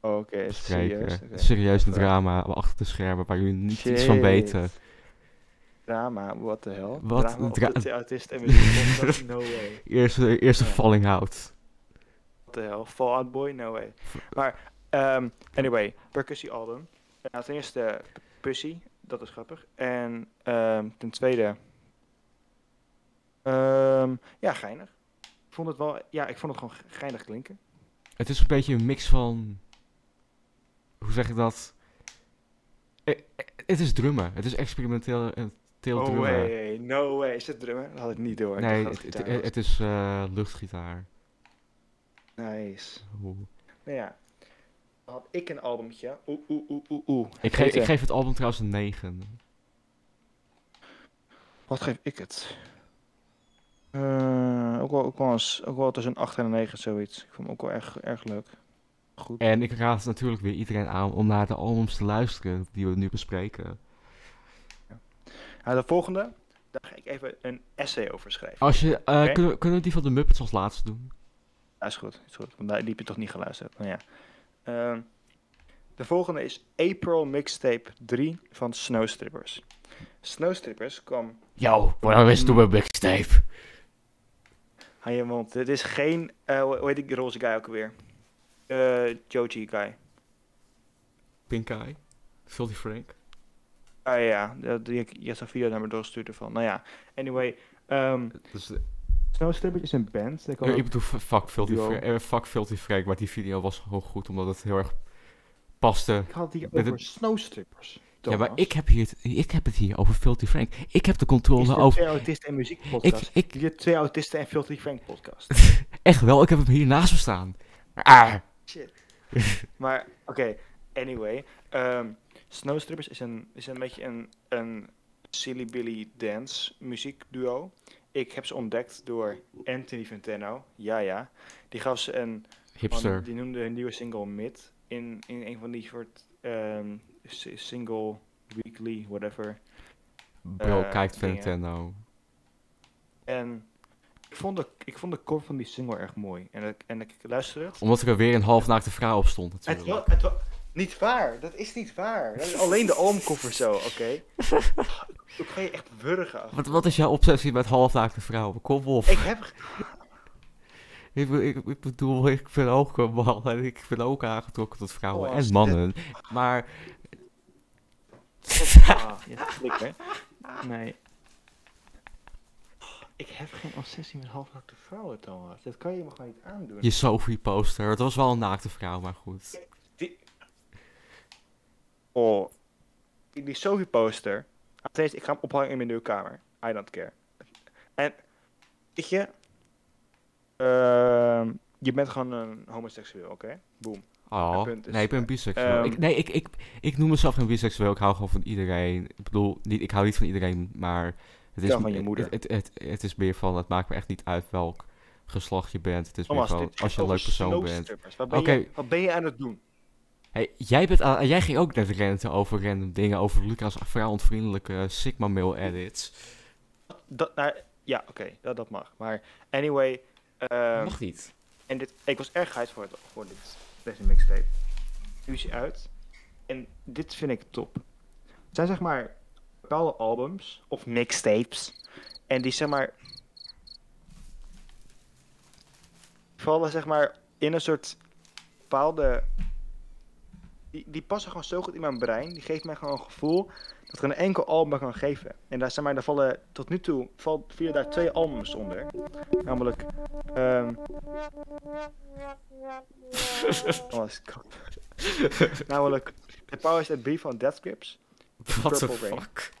[SPEAKER 1] Oké,
[SPEAKER 2] bespreken.
[SPEAKER 1] serieus.
[SPEAKER 2] Het is serieus een drama achter de schermen waar jullie niet iets van
[SPEAKER 1] Shit.
[SPEAKER 2] weten.
[SPEAKER 1] Drama, what the hell?
[SPEAKER 2] Wat
[SPEAKER 1] Drama op
[SPEAKER 2] dra-
[SPEAKER 1] de the autist en muziek. no way.
[SPEAKER 2] Eerste, eerste
[SPEAKER 1] Ja.
[SPEAKER 2] falling out.
[SPEAKER 1] What the hell? Fallout Boy, no way. Maar, ehm, anyway, percussie album. Nou, ten eerste Pussy, dat is grappig. En ehm, ten tweede, ehm, ja, geinig. Ik vond het wel, ja, ik vond het gewoon ge- geinig klinken.
[SPEAKER 2] Het is een beetje een mix van... Hoe zeg ik dat? Eh, eh, Het is drummen. Het is experimenteel eh, teel
[SPEAKER 1] No
[SPEAKER 2] drummen.
[SPEAKER 1] way, no way. Is het drummer? Dat had ik niet door. Ik
[SPEAKER 2] Nee,
[SPEAKER 1] dacht
[SPEAKER 2] het,
[SPEAKER 1] dat
[SPEAKER 2] het,
[SPEAKER 1] gitaar was.
[SPEAKER 2] het is eh, luchtgitaar.
[SPEAKER 1] Nice.
[SPEAKER 2] Oeh.
[SPEAKER 1] Nou ja, dan had ik een albumtje. Oeh, oeh, oeh, oeh, oeh.
[SPEAKER 2] Ik, geef, ik
[SPEAKER 1] Peter.
[SPEAKER 2] geef het album trouwens een 9.
[SPEAKER 1] Wat geef ik het? Eh, ook, wel, ook, wel eens, ook wel tussen een 8 en een 9, zoiets. Ik vond hem ook wel erg, erg leuk. Goed.
[SPEAKER 2] En ik raad natuurlijk weer iedereen aan om naar de albums te luisteren die we nu bespreken.
[SPEAKER 1] Nou, de volgende, daar ga ik even een essay over schrijven.
[SPEAKER 2] Als je, eh,
[SPEAKER 1] Oké.
[SPEAKER 2] kunnen, we- kunnen we die van de Muppets als laatste doen?
[SPEAKER 1] Ja, is goed, is goed. Want daar liep je toch niet geluisterd. Nou ja. Ehm, de volgende is April Mixtape 3 van Snowstrippers. Snowstrippers kwam...
[SPEAKER 2] Yo, wanneer is
[SPEAKER 1] toen
[SPEAKER 2] mijn mixtape?
[SPEAKER 1] Hou je mond. Dit is geen... eh, hoe hoe heet die roze guy ook alweer? Eh Joji guy.
[SPEAKER 2] Pink Eye, Filthy Frank.
[SPEAKER 1] Ah ja, dat- die- je had een video naar me doorgestuurd ervan. Nou ja, anyway. ehm
[SPEAKER 2] Dus,
[SPEAKER 1] Snowstrippers is een band. Daar kwam
[SPEAKER 2] ik bedoel, f- fuck Filthy,
[SPEAKER 1] Duo.
[SPEAKER 2] Frank, eh, fuck Filthy Frank, maar die video was gewoon goed omdat het heel erg paste.
[SPEAKER 1] ik had die
[SPEAKER 2] Met
[SPEAKER 1] over
[SPEAKER 2] het-
[SPEAKER 1] Snowstrippers.
[SPEAKER 2] Ja, maar ik heb, hier, het- ik heb het hier over Filthy Frank. Ik heb de controle over...
[SPEAKER 1] Twee autisten en muziek podcast.
[SPEAKER 2] Ik, ik,
[SPEAKER 1] Je twee autisten en Filthy Frank podcast.
[SPEAKER 2] echt wel, ik heb hem hier naast me staan. Ah,
[SPEAKER 1] Shit. maar oké, anyway. ehm Snowstrippers is een, is een beetje een, een Silly Billy Dance muziekduo. Ik heb ze ontdekt door Anthony Fantano. Ja, ja. Die gaf ze een want
[SPEAKER 2] Hipster.
[SPEAKER 1] die noemde hun nieuwe single Mid in, in een van die soort ehm, si- single, weekly, whatever.
[SPEAKER 2] Bro,
[SPEAKER 1] eh,
[SPEAKER 2] kijkt van
[SPEAKER 1] dingen.
[SPEAKER 2] Nintendo.
[SPEAKER 1] En ik vond de, ik vond de cover van die single erg mooi. En, ik- en ik luister het.
[SPEAKER 2] Omdat er weer een halfnaakte vrouw op stond
[SPEAKER 1] Het
[SPEAKER 2] natuurlijk.
[SPEAKER 1] was, het wa- niet waar, dat is niet waar. Dat is alleen de oomkoffer zo, oké? Toen ga je echt wurgen. af.
[SPEAKER 2] Wat, wat is jouw obsessie met halfnaakte vrouwen? Kom op.
[SPEAKER 1] Ik heb
[SPEAKER 2] Ik, be- ik, ik bedoel, ik ben ook een man en ik ben ook aangetrokken tot vrouwen
[SPEAKER 1] Oh,
[SPEAKER 2] en
[SPEAKER 1] shit.
[SPEAKER 2] mannen. Maar
[SPEAKER 1] Ah, ja, klik, hè? Nee. Ik heb geen obsessie met halfnakte vrouwen, Thomas. Dat kan je me gewoon niet aandoen.
[SPEAKER 2] je Sophie poster, het was wel een naakte vrouw, maar goed.
[SPEAKER 1] Oh. Die, die Sophie poster. Nog steeds, ik ga hem ophangen in mijn nieuwe kamer. I don't care. En, weet je... ehm, je bent gewoon een homoseksueel, oké? Boom.
[SPEAKER 2] Oh,
[SPEAKER 1] punt is-
[SPEAKER 2] nee, ik ben biseksueel.
[SPEAKER 1] Ehm.
[SPEAKER 2] ik, nee, ik, ik, ik noem mezelf geen biseksueel, ik hou gewoon van iedereen. Ik bedoel, niet, ik hou niet van iedereen, maar het is,
[SPEAKER 1] Ja, van je moeder.
[SPEAKER 2] Het, het, het, het is meer van, het maakt me echt niet uit welk geslacht je bent. Het is
[SPEAKER 1] Thomas,
[SPEAKER 2] meer
[SPEAKER 1] Oh, dit
[SPEAKER 2] van,
[SPEAKER 1] gaat
[SPEAKER 2] als je een leuk
[SPEAKER 1] over
[SPEAKER 2] persoon bent.
[SPEAKER 1] snowstrippers. Wat ben,
[SPEAKER 2] Oké.
[SPEAKER 1] je, wat ben je aan het doen?
[SPEAKER 2] Hey, jij, bent aan- jij ging ook net renten over random dingen, over Lucas' vrouwontvriendelijke Sigma-mail edits.
[SPEAKER 1] Dat, nou, ja, oké. dat, dat mag. Maar, anyway... ehm,
[SPEAKER 2] Mag niet.
[SPEAKER 1] En dit, ik was erg hyped voor, het, voor dit, deze mixtape. Nu is hij uit. En dit vind ik top. Het zijn zeg maar bepaalde albums of mixtapes. En die zeg maar. vallen zeg maar in een soort bepaalde. Die, die passen gewoon zo goed in mijn brein. Die geeft mij gewoon een gevoel dat er een enkel album me kan geven. En daar, zeg maar, daar vallen tot nu toe valt, vielen daar twee albums onder. Namelijk ehm oh, is kap. Namelijk The Powers That Be van Death Grips.
[SPEAKER 2] What the
[SPEAKER 1] Purple Rain.
[SPEAKER 2] fuck?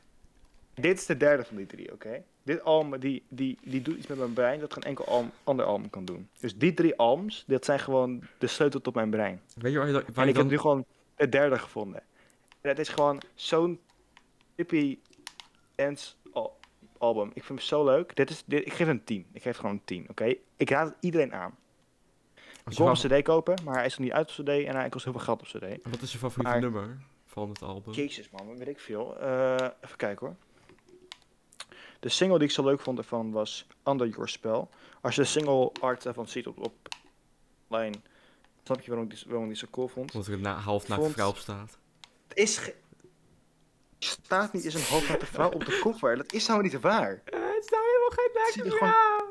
[SPEAKER 1] Dit is de derde van die drie, oké? Dit album, die, die, die doet iets met mijn brein dat geen enkel alm- ander album kan doen. Dus die drie albums, dat zijn gewoon de sleutel tot mijn brein.
[SPEAKER 2] Weet je waar je, da- waar
[SPEAKER 1] en
[SPEAKER 2] je
[SPEAKER 1] ik
[SPEAKER 2] dan...
[SPEAKER 1] heb nu gewoon het derde gevonden. En het is gewoon zo'n tippy dance al- album. Ik vind hem zo leuk. Dit is, dit, ik geef hem een 10. Ik geef gewoon een 10, oké? Ik raad het iedereen aan.
[SPEAKER 2] Als
[SPEAKER 1] Ik
[SPEAKER 2] je
[SPEAKER 1] wil
[SPEAKER 2] favor-
[SPEAKER 1] hem op cd kopen, maar hij is nog niet uit op cd en hij kost heel veel geld op cd.
[SPEAKER 2] Wat is je favoriete
[SPEAKER 1] Maar-
[SPEAKER 2] nummer van het album?
[SPEAKER 1] Jezus man, wat weet ik veel. Eh, even kijken hoor. De single die ik zo leuk vond ervan was Under Your Spell. Als je de single art ervan ziet op, op line, snap je waarom ik, die, waarom ik die zo cool vond.
[SPEAKER 2] Omdat er een na- halfnaakte
[SPEAKER 1] Vond-
[SPEAKER 2] vrouw op staat.
[SPEAKER 1] Het is ge- Er staat niet eens een halfnaakte vrouw op de koffer. Dat is nou niet waar.
[SPEAKER 2] het is nou helemaal geen
[SPEAKER 1] Zie je gewoon-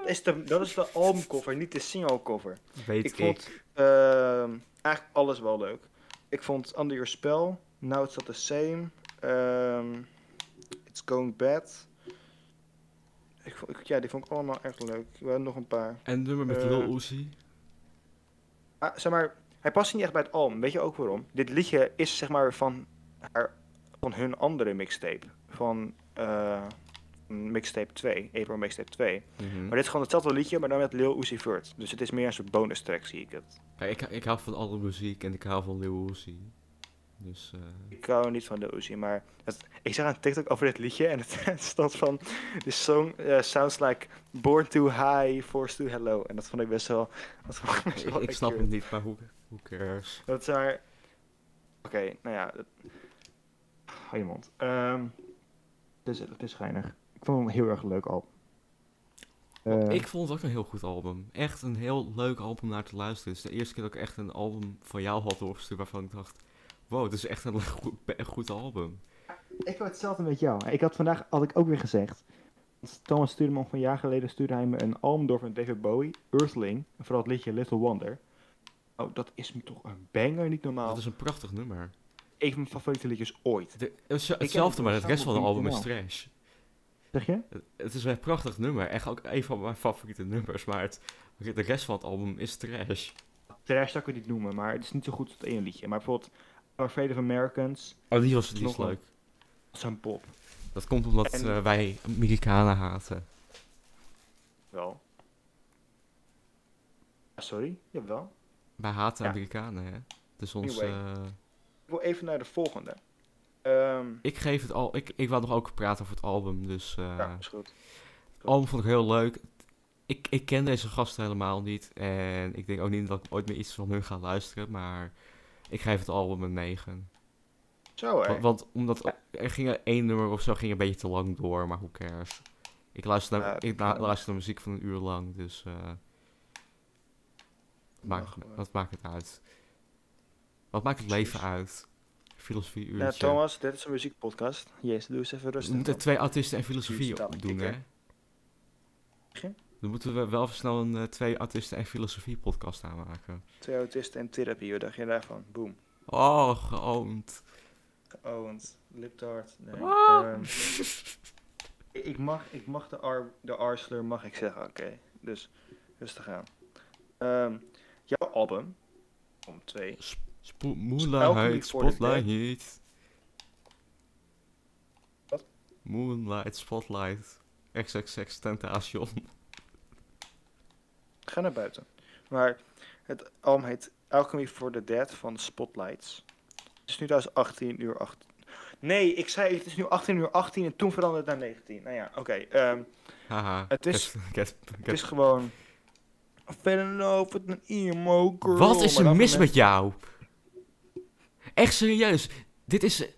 [SPEAKER 1] Dat is de, dat is de albumcover, niet de singlecover.
[SPEAKER 2] Weet
[SPEAKER 1] Ik
[SPEAKER 2] ik.
[SPEAKER 1] vond ehm, eigenlijk alles wel leuk. Ik vond Under Your Spell, Now It's Not The Same, ehm, It's Going Bad. Ik vond- ik- ja, die vond ik allemaal echt leuk. We hebben nog een paar.
[SPEAKER 2] En het nummer met
[SPEAKER 1] eh,
[SPEAKER 2] Lil Uzi?
[SPEAKER 1] Ah, zeg maar, hij past niet echt bij het album. Weet je ook waarom? Dit liedje is zeg maar van, haar, van hun andere mixtape. Van eh, mixtape 2, April mixtape 2. Maar dit is gewoon hetzelfde liedje, maar dan met Lil Uzi Vert. Dus het is meer een soort bonus track, zie ik het.
[SPEAKER 2] Ja, ik, ik hou van alle muziek en ik hou van Lil Uzi. Dus eh,
[SPEAKER 1] Ik hou niet van de Uzi, maar het- ik zag een TikTok over dit liedje en het, het stond van de song eh, sounds like born too high, forced to hello. En dat vond ik best wel. Dat vond ik best
[SPEAKER 2] ik,
[SPEAKER 1] wel
[SPEAKER 2] ik snap
[SPEAKER 1] accurate.
[SPEAKER 2] het niet, maar hoe, hoe cares?
[SPEAKER 1] Dat is maar. Oké, nou ja. Dat... Hou je mond. Ehm, het, is, het is geinig. Ik vond hem heel erg leuk al. Eh,
[SPEAKER 2] Ik vond het ook een heel goed album. Echt een heel leuk album om naar te luisteren. Het is de eerste keer dat ik echt een album van jou had doorgestuurd waarvan ik dacht... Wow, dit is echt een goed, be- een goed album.
[SPEAKER 1] Ik heb hetzelfde met jou. Ik had vandaag had ik ook weer gezegd. want Thomas stuurde me ongeveer een jaar geleden stuurde hij me een album door van David Bowie, Earthling, en vooral het liedje Little Wonder. Oh, dat is me toch een banger, niet normaal.
[SPEAKER 2] Dat is een prachtig nummer.
[SPEAKER 1] Een van mijn favoriete liedjes ooit.
[SPEAKER 2] De- het- hetzelfde, maar het rest van het album is trash.
[SPEAKER 1] Zeg je?
[SPEAKER 2] Het- Het is een prachtig nummer. Echt ook een van mijn favoriete nummers. Maar het, de rest van het album is trash.
[SPEAKER 1] Trash zou ik het niet noemen, maar het is niet zo goed als het ene liedje. Maar bijvoorbeeld I'm Afraid of Americans,
[SPEAKER 2] Oh, die was het
[SPEAKER 1] Nog
[SPEAKER 2] niet
[SPEAKER 1] wel.
[SPEAKER 2] leuk.
[SPEAKER 1] dat is een pop.
[SPEAKER 2] Dat komt omdat
[SPEAKER 1] En-
[SPEAKER 2] eh, wij Amerikanen haten.
[SPEAKER 1] Wel. Ah, Sorry, jawel.
[SPEAKER 2] Wij haten
[SPEAKER 1] Ja.
[SPEAKER 2] Amerikanen, hè? Het is ons...
[SPEAKER 1] Anyway.
[SPEAKER 2] eh,
[SPEAKER 1] Ik wil even naar de volgende. Ehm,
[SPEAKER 2] Ik geef het al. Ik, ik wou nog ook praten over het album. Dus eh
[SPEAKER 1] ja, is goed.
[SPEAKER 2] het album vond ik heel leuk. Ik, ik ken deze gasten helemaal niet. En ik denk ook niet dat ik ooit meer iets van hun ga luisteren. Maar ik geef het album een 9.
[SPEAKER 1] Zo, hè?
[SPEAKER 2] Wa- Want omdat er ging één nummer of zo ging een beetje te lang door, maar hoe cares. Ik luister naar,
[SPEAKER 1] Ja,
[SPEAKER 2] ik na- luister naar muziek van een uur lang, dus eh, maakt,
[SPEAKER 1] Mag wel.
[SPEAKER 2] wat maakt het uit? Wat maakt het leven uit? Filosofie
[SPEAKER 1] Ja,
[SPEAKER 2] uurtje.
[SPEAKER 1] Nou, Thomas, dit is een muziekpodcast. Jezus, doe eens even
[SPEAKER 2] we
[SPEAKER 1] rustig.
[SPEAKER 2] moeten
[SPEAKER 1] man.
[SPEAKER 2] twee artiesten en filosofie
[SPEAKER 1] Uurtje taal,
[SPEAKER 2] doen, hè?
[SPEAKER 1] kikker. Zeg
[SPEAKER 2] Dan moeten we wel even snel een eh, twee artiesten en filosofie podcast aanmaken.
[SPEAKER 1] Twee autisten en therapie, wat dacht je daarvan? Boom.
[SPEAKER 2] Oh, geoond.
[SPEAKER 1] Owens, Liptard. Nee.
[SPEAKER 2] Ah.
[SPEAKER 1] ehm, ik, mag, ik mag de, ar, de Arsler mag ik zeggen, oké. Dus rustig aan. Ehm, jouw album, om twee.
[SPEAKER 2] Spo-
[SPEAKER 1] Alchemy
[SPEAKER 2] Moonlight,
[SPEAKER 1] for the Dead.
[SPEAKER 2] Spotlight.
[SPEAKER 1] Wat?
[SPEAKER 2] Moonlight, Spotlight, XXX Tentation.
[SPEAKER 1] Ga naar buiten. Maar het album heet Alchemy for the Dead van Spotlights. Het is nu trouwens 18 uur 18. Nee, ik zei het is nu 18 uur 18 en toen veranderde het naar 19. Nou ja, oké. ehm,
[SPEAKER 2] Haha.
[SPEAKER 1] Het is-
[SPEAKER 2] Get- get- get-
[SPEAKER 1] het is gewoon... I fell in love with an emo girl.
[SPEAKER 2] Wat is
[SPEAKER 1] Maar
[SPEAKER 2] er
[SPEAKER 1] dan
[SPEAKER 2] mis
[SPEAKER 1] met-
[SPEAKER 2] met jou? Echt serieus. Dit is...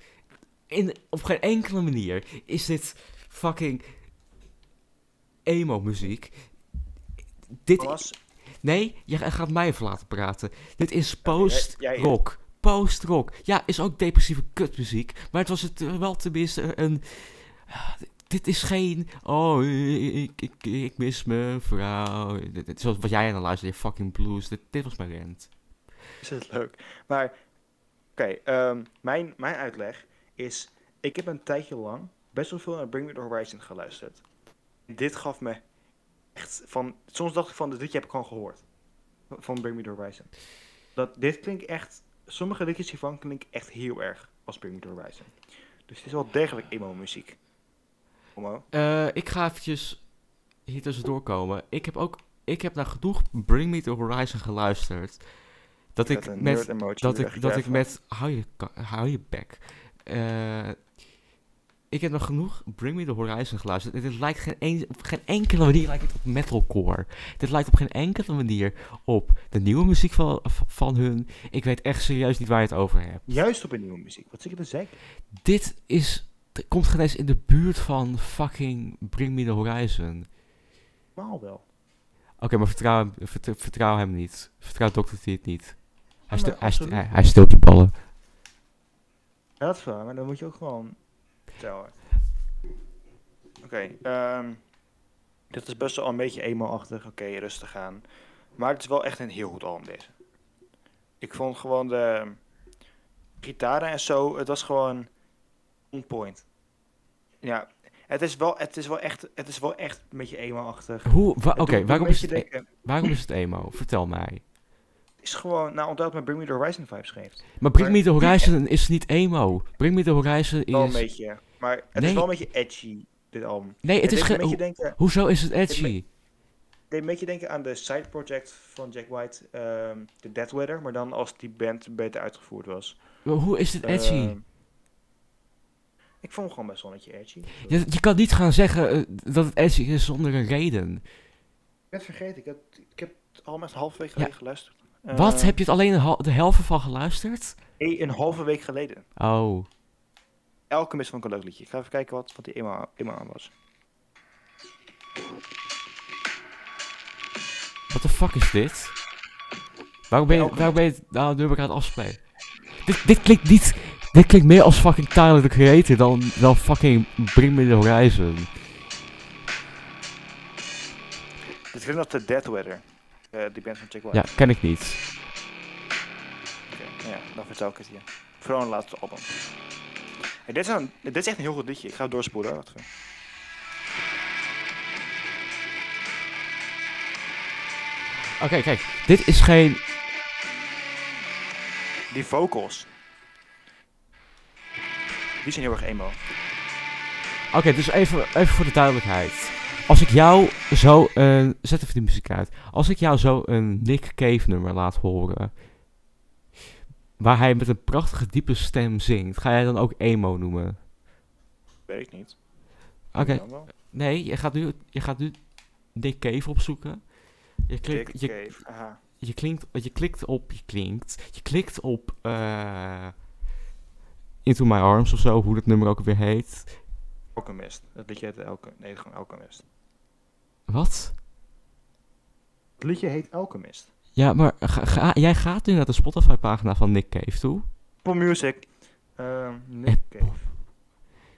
[SPEAKER 2] In, op geen enkele manier is dit fucking emo-muziek. Dit,
[SPEAKER 1] Thomas,
[SPEAKER 2] Nee, jij gaat mij even laten praten. Dit is
[SPEAKER 1] jij- jij-
[SPEAKER 2] post-rock. Post-rock. Ja, is ook depressieve kutmuziek. Maar het was het eh, wel tenminste een... eh, Dit is geen... Oh, ik, ik, ik mis mijn vrouw. Dit, dit is wat jij aan de luisterde. Fucking blues. Dit, dit was mijn rent.
[SPEAKER 1] is het leuk. Maar, oké, ehm, mijn, mijn uitleg is... Ik heb een tijdje lang best wel veel naar Bring Me The Horizon geluisterd. Dit gaf me echt van... Soms dacht ik van, dit liedje heb ik gewoon gehoord. Van Bring Me The Horizon. Dat, dit klinkt echt... Sommige liedjes hiervan klinken echt heel erg als Bring Me The Horizon. Dus het is wel degelijk emo-muziek. Homo.
[SPEAKER 2] Eh, ik ga eventjes hier tussendoor komen. Ik heb ook... Ik heb naar genoeg Bring Me The Horizon geluisterd. Dat
[SPEAKER 1] Met
[SPEAKER 2] ik
[SPEAKER 1] een
[SPEAKER 2] met
[SPEAKER 1] nerd emoji
[SPEAKER 2] dat ik,
[SPEAKER 1] weg,
[SPEAKER 2] dat
[SPEAKER 1] ja,
[SPEAKER 2] ik
[SPEAKER 1] van-
[SPEAKER 2] met... Hou je, ka- hou je bek. Eh, ik heb nog genoeg Bring Me The Horizon geluisterd. En dit lijkt geen een, op geen enkele manier lijkt het op metalcore. Dit lijkt op geen enkele manier op de nieuwe muziek van, van hun. Ik weet echt serieus niet waar je het over hebt.
[SPEAKER 1] Juist op een nieuwe muziek. Wat zit ik te zeggen?
[SPEAKER 2] Dit is... dit komt geen eens in de buurt van fucking Bring Me The Horizon.
[SPEAKER 1] Normaal wel.
[SPEAKER 2] Oké, maar vertrouw hem, vert- vertrouw hem niet. Vertrouw Dr. T het niet. Hij,
[SPEAKER 1] maar
[SPEAKER 2] stu- hij, stu-
[SPEAKER 1] absoluut.
[SPEAKER 2] hij, hij steelt je ballen.
[SPEAKER 1] Ja, dat is waar, maar dan moet je ook gewoon vertellen. Oké, ehm dit is best wel een beetje emo-achtig. Oké, rustig aan. Maar het is wel echt een heel goed album deze. Ik vond gewoon de gitaren en zo, het was gewoon on point. Ja, het is wel, het is wel, echt, het is wel echt een beetje emo-achtig. Het
[SPEAKER 2] Hoe? wa- Oké,
[SPEAKER 1] doet me een
[SPEAKER 2] waarom is
[SPEAKER 1] beetje
[SPEAKER 2] het... e-
[SPEAKER 1] denken,
[SPEAKER 2] Waarom is het emo? Vertel mij.
[SPEAKER 1] Het is gewoon, nou omdat het me Bring Me The Horizon vibes geeft.
[SPEAKER 2] Maar Bring
[SPEAKER 1] Maar-
[SPEAKER 2] Me The Horizon is niet emo. Bring Me The Horizon
[SPEAKER 1] Wel een
[SPEAKER 2] is...
[SPEAKER 1] beetje, maar het
[SPEAKER 2] Nee.
[SPEAKER 1] is wel een beetje edgy, dit album.
[SPEAKER 2] Nee, het is
[SPEAKER 1] deed me een
[SPEAKER 2] geen...
[SPEAKER 1] beetje denken...
[SPEAKER 2] Hoezo is het edgy?
[SPEAKER 1] me- deed een beetje denken aan de side project van Jack White, ehm The Dead Weather, maar dan als die band beter uitgevoerd was.
[SPEAKER 2] Maar Hoe is het edgy?
[SPEAKER 1] Ehm, ik vond hem gewoon best wel een beetje edgy.
[SPEAKER 2] Je, je kan niet gaan zeggen eh, dat het edgy is zonder een reden.
[SPEAKER 1] Ik ben vergeten, ik heb, ik heb het al echt een halve week
[SPEAKER 2] geleden
[SPEAKER 1] geleden geluisterd. Ehm,
[SPEAKER 2] Wat? Heb je het alleen een hal- de helft van geluisterd?
[SPEAKER 1] Nee, een halve week geleden.
[SPEAKER 2] Oh.
[SPEAKER 1] Elke mis van een leuk liedje. Ik ga even kijken wat, wat die eenmaal, eenmaal aan was.
[SPEAKER 2] Wat de fuck is dit? Waarom ben je,
[SPEAKER 1] Elke-
[SPEAKER 2] waarom ben je het nou, nummer aan het afspelen? Dit, dit klinkt niet... Dit klinkt meer als fucking Tyler, the Creator dan, dan fucking Bring Me The Horizon.
[SPEAKER 1] Dit klinkt als The Dead Weather, eh, die band van Jack White.
[SPEAKER 2] Ja, ken ik niet.
[SPEAKER 1] Oké, ja, dan vertel ik het je. Vooral in het laatste album. Hey, dit, is een, dit is echt een heel goed liedje. Ik ga het doorspoelen. hoor. Wacht even.
[SPEAKER 2] Oké, kijk. Dit is geen...
[SPEAKER 1] Die vocals. Die zijn heel erg emo.
[SPEAKER 2] Oké, dus even, even voor de duidelijkheid. Als ik jou zo een... Zet even de muziek uit. Als ik jou zo een Nick Cave nummer laat horen... Waar hij met een prachtige diepe stem zingt. Ga jij dan ook emo noemen?
[SPEAKER 1] Weet ik niet.
[SPEAKER 2] Oké,
[SPEAKER 1] Kan wel.
[SPEAKER 2] nee, je gaat nu, je gaat nu Nick Cave opzoeken. Je
[SPEAKER 1] Dick
[SPEAKER 2] klikt, je,
[SPEAKER 1] Cave, aha.
[SPEAKER 2] je, klinkt, je klikt op, je klinkt, je klikt op eh, Into My Arms of zo, hoe dat nummer ook weer heet.
[SPEAKER 1] Alchemist. Dat liedje heet Elke... Nee, gewoon Alchemist.
[SPEAKER 2] Wat?
[SPEAKER 1] Het liedje heet Alchemist.
[SPEAKER 2] Ja, maar ga- ga- jij gaat nu naar de Spotify-pagina van Nick Cave toe.
[SPEAKER 1] Apple Music. Ehm, Nick Cave.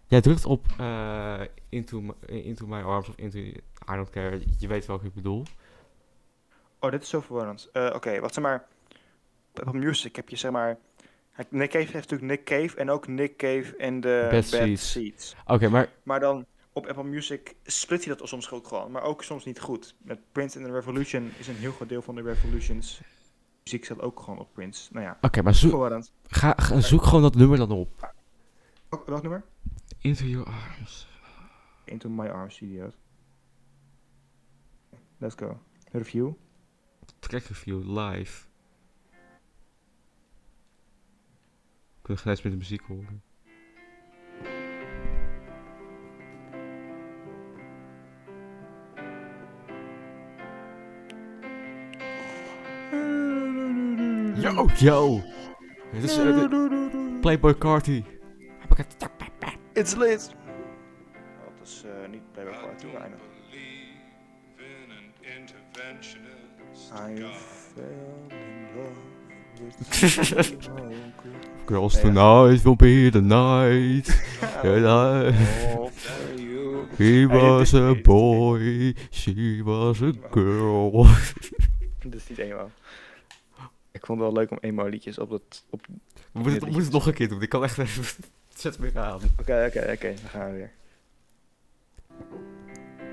[SPEAKER 2] Jij drukt op eh, into, my, into My Arms of Into... I don't care, je weet welke ik bedoel.
[SPEAKER 1] Oh, dit is zo verwarrend. Eh, Oké, wat zeg maar... Op Apple Music heb je zeg maar... Kijk, Nick Cave heeft natuurlijk Nick Cave en ook Nick Cave en de Bad
[SPEAKER 2] Bad Seeds.
[SPEAKER 1] Seeds.
[SPEAKER 2] Oké, maar
[SPEAKER 1] Maar dan op Apple Music split hij dat soms ook gewoon, maar ook soms niet goed. Met Prince and the Revolution is een heel groot deel van de Revolutions. Muziek staat ook gewoon op Prince. Nou ja,
[SPEAKER 2] oké, maar zoek,
[SPEAKER 1] verwarrend.
[SPEAKER 2] ga, ga- zoek gewoon dat nummer dan op.
[SPEAKER 1] Oh, welk nummer?
[SPEAKER 2] Into Your Arms.
[SPEAKER 1] Into My Arms, idioot. Let's go. Review.
[SPEAKER 2] Track review, live. Ik wil geen eens meer de muziek horen. Yo, yo! Het is eh, de- Playboy Carti.
[SPEAKER 1] It's late. Dat is eh, niet Playboy Party, maar I know. I fell in love with you.
[SPEAKER 2] Girls tonight will be the night. And I-
[SPEAKER 1] Oh, for you.
[SPEAKER 2] He was
[SPEAKER 1] dit-
[SPEAKER 2] a
[SPEAKER 1] dit-
[SPEAKER 2] boy, she was a girl.
[SPEAKER 1] Dit is niet emo. Ik vond het wel leuk om emo liedjes op dat... Op...
[SPEAKER 2] We moeten het, we moeten het nog een keer doen. Ik kan echt even... Zet me aan.
[SPEAKER 1] Oké, oké, oké. we gaan weer.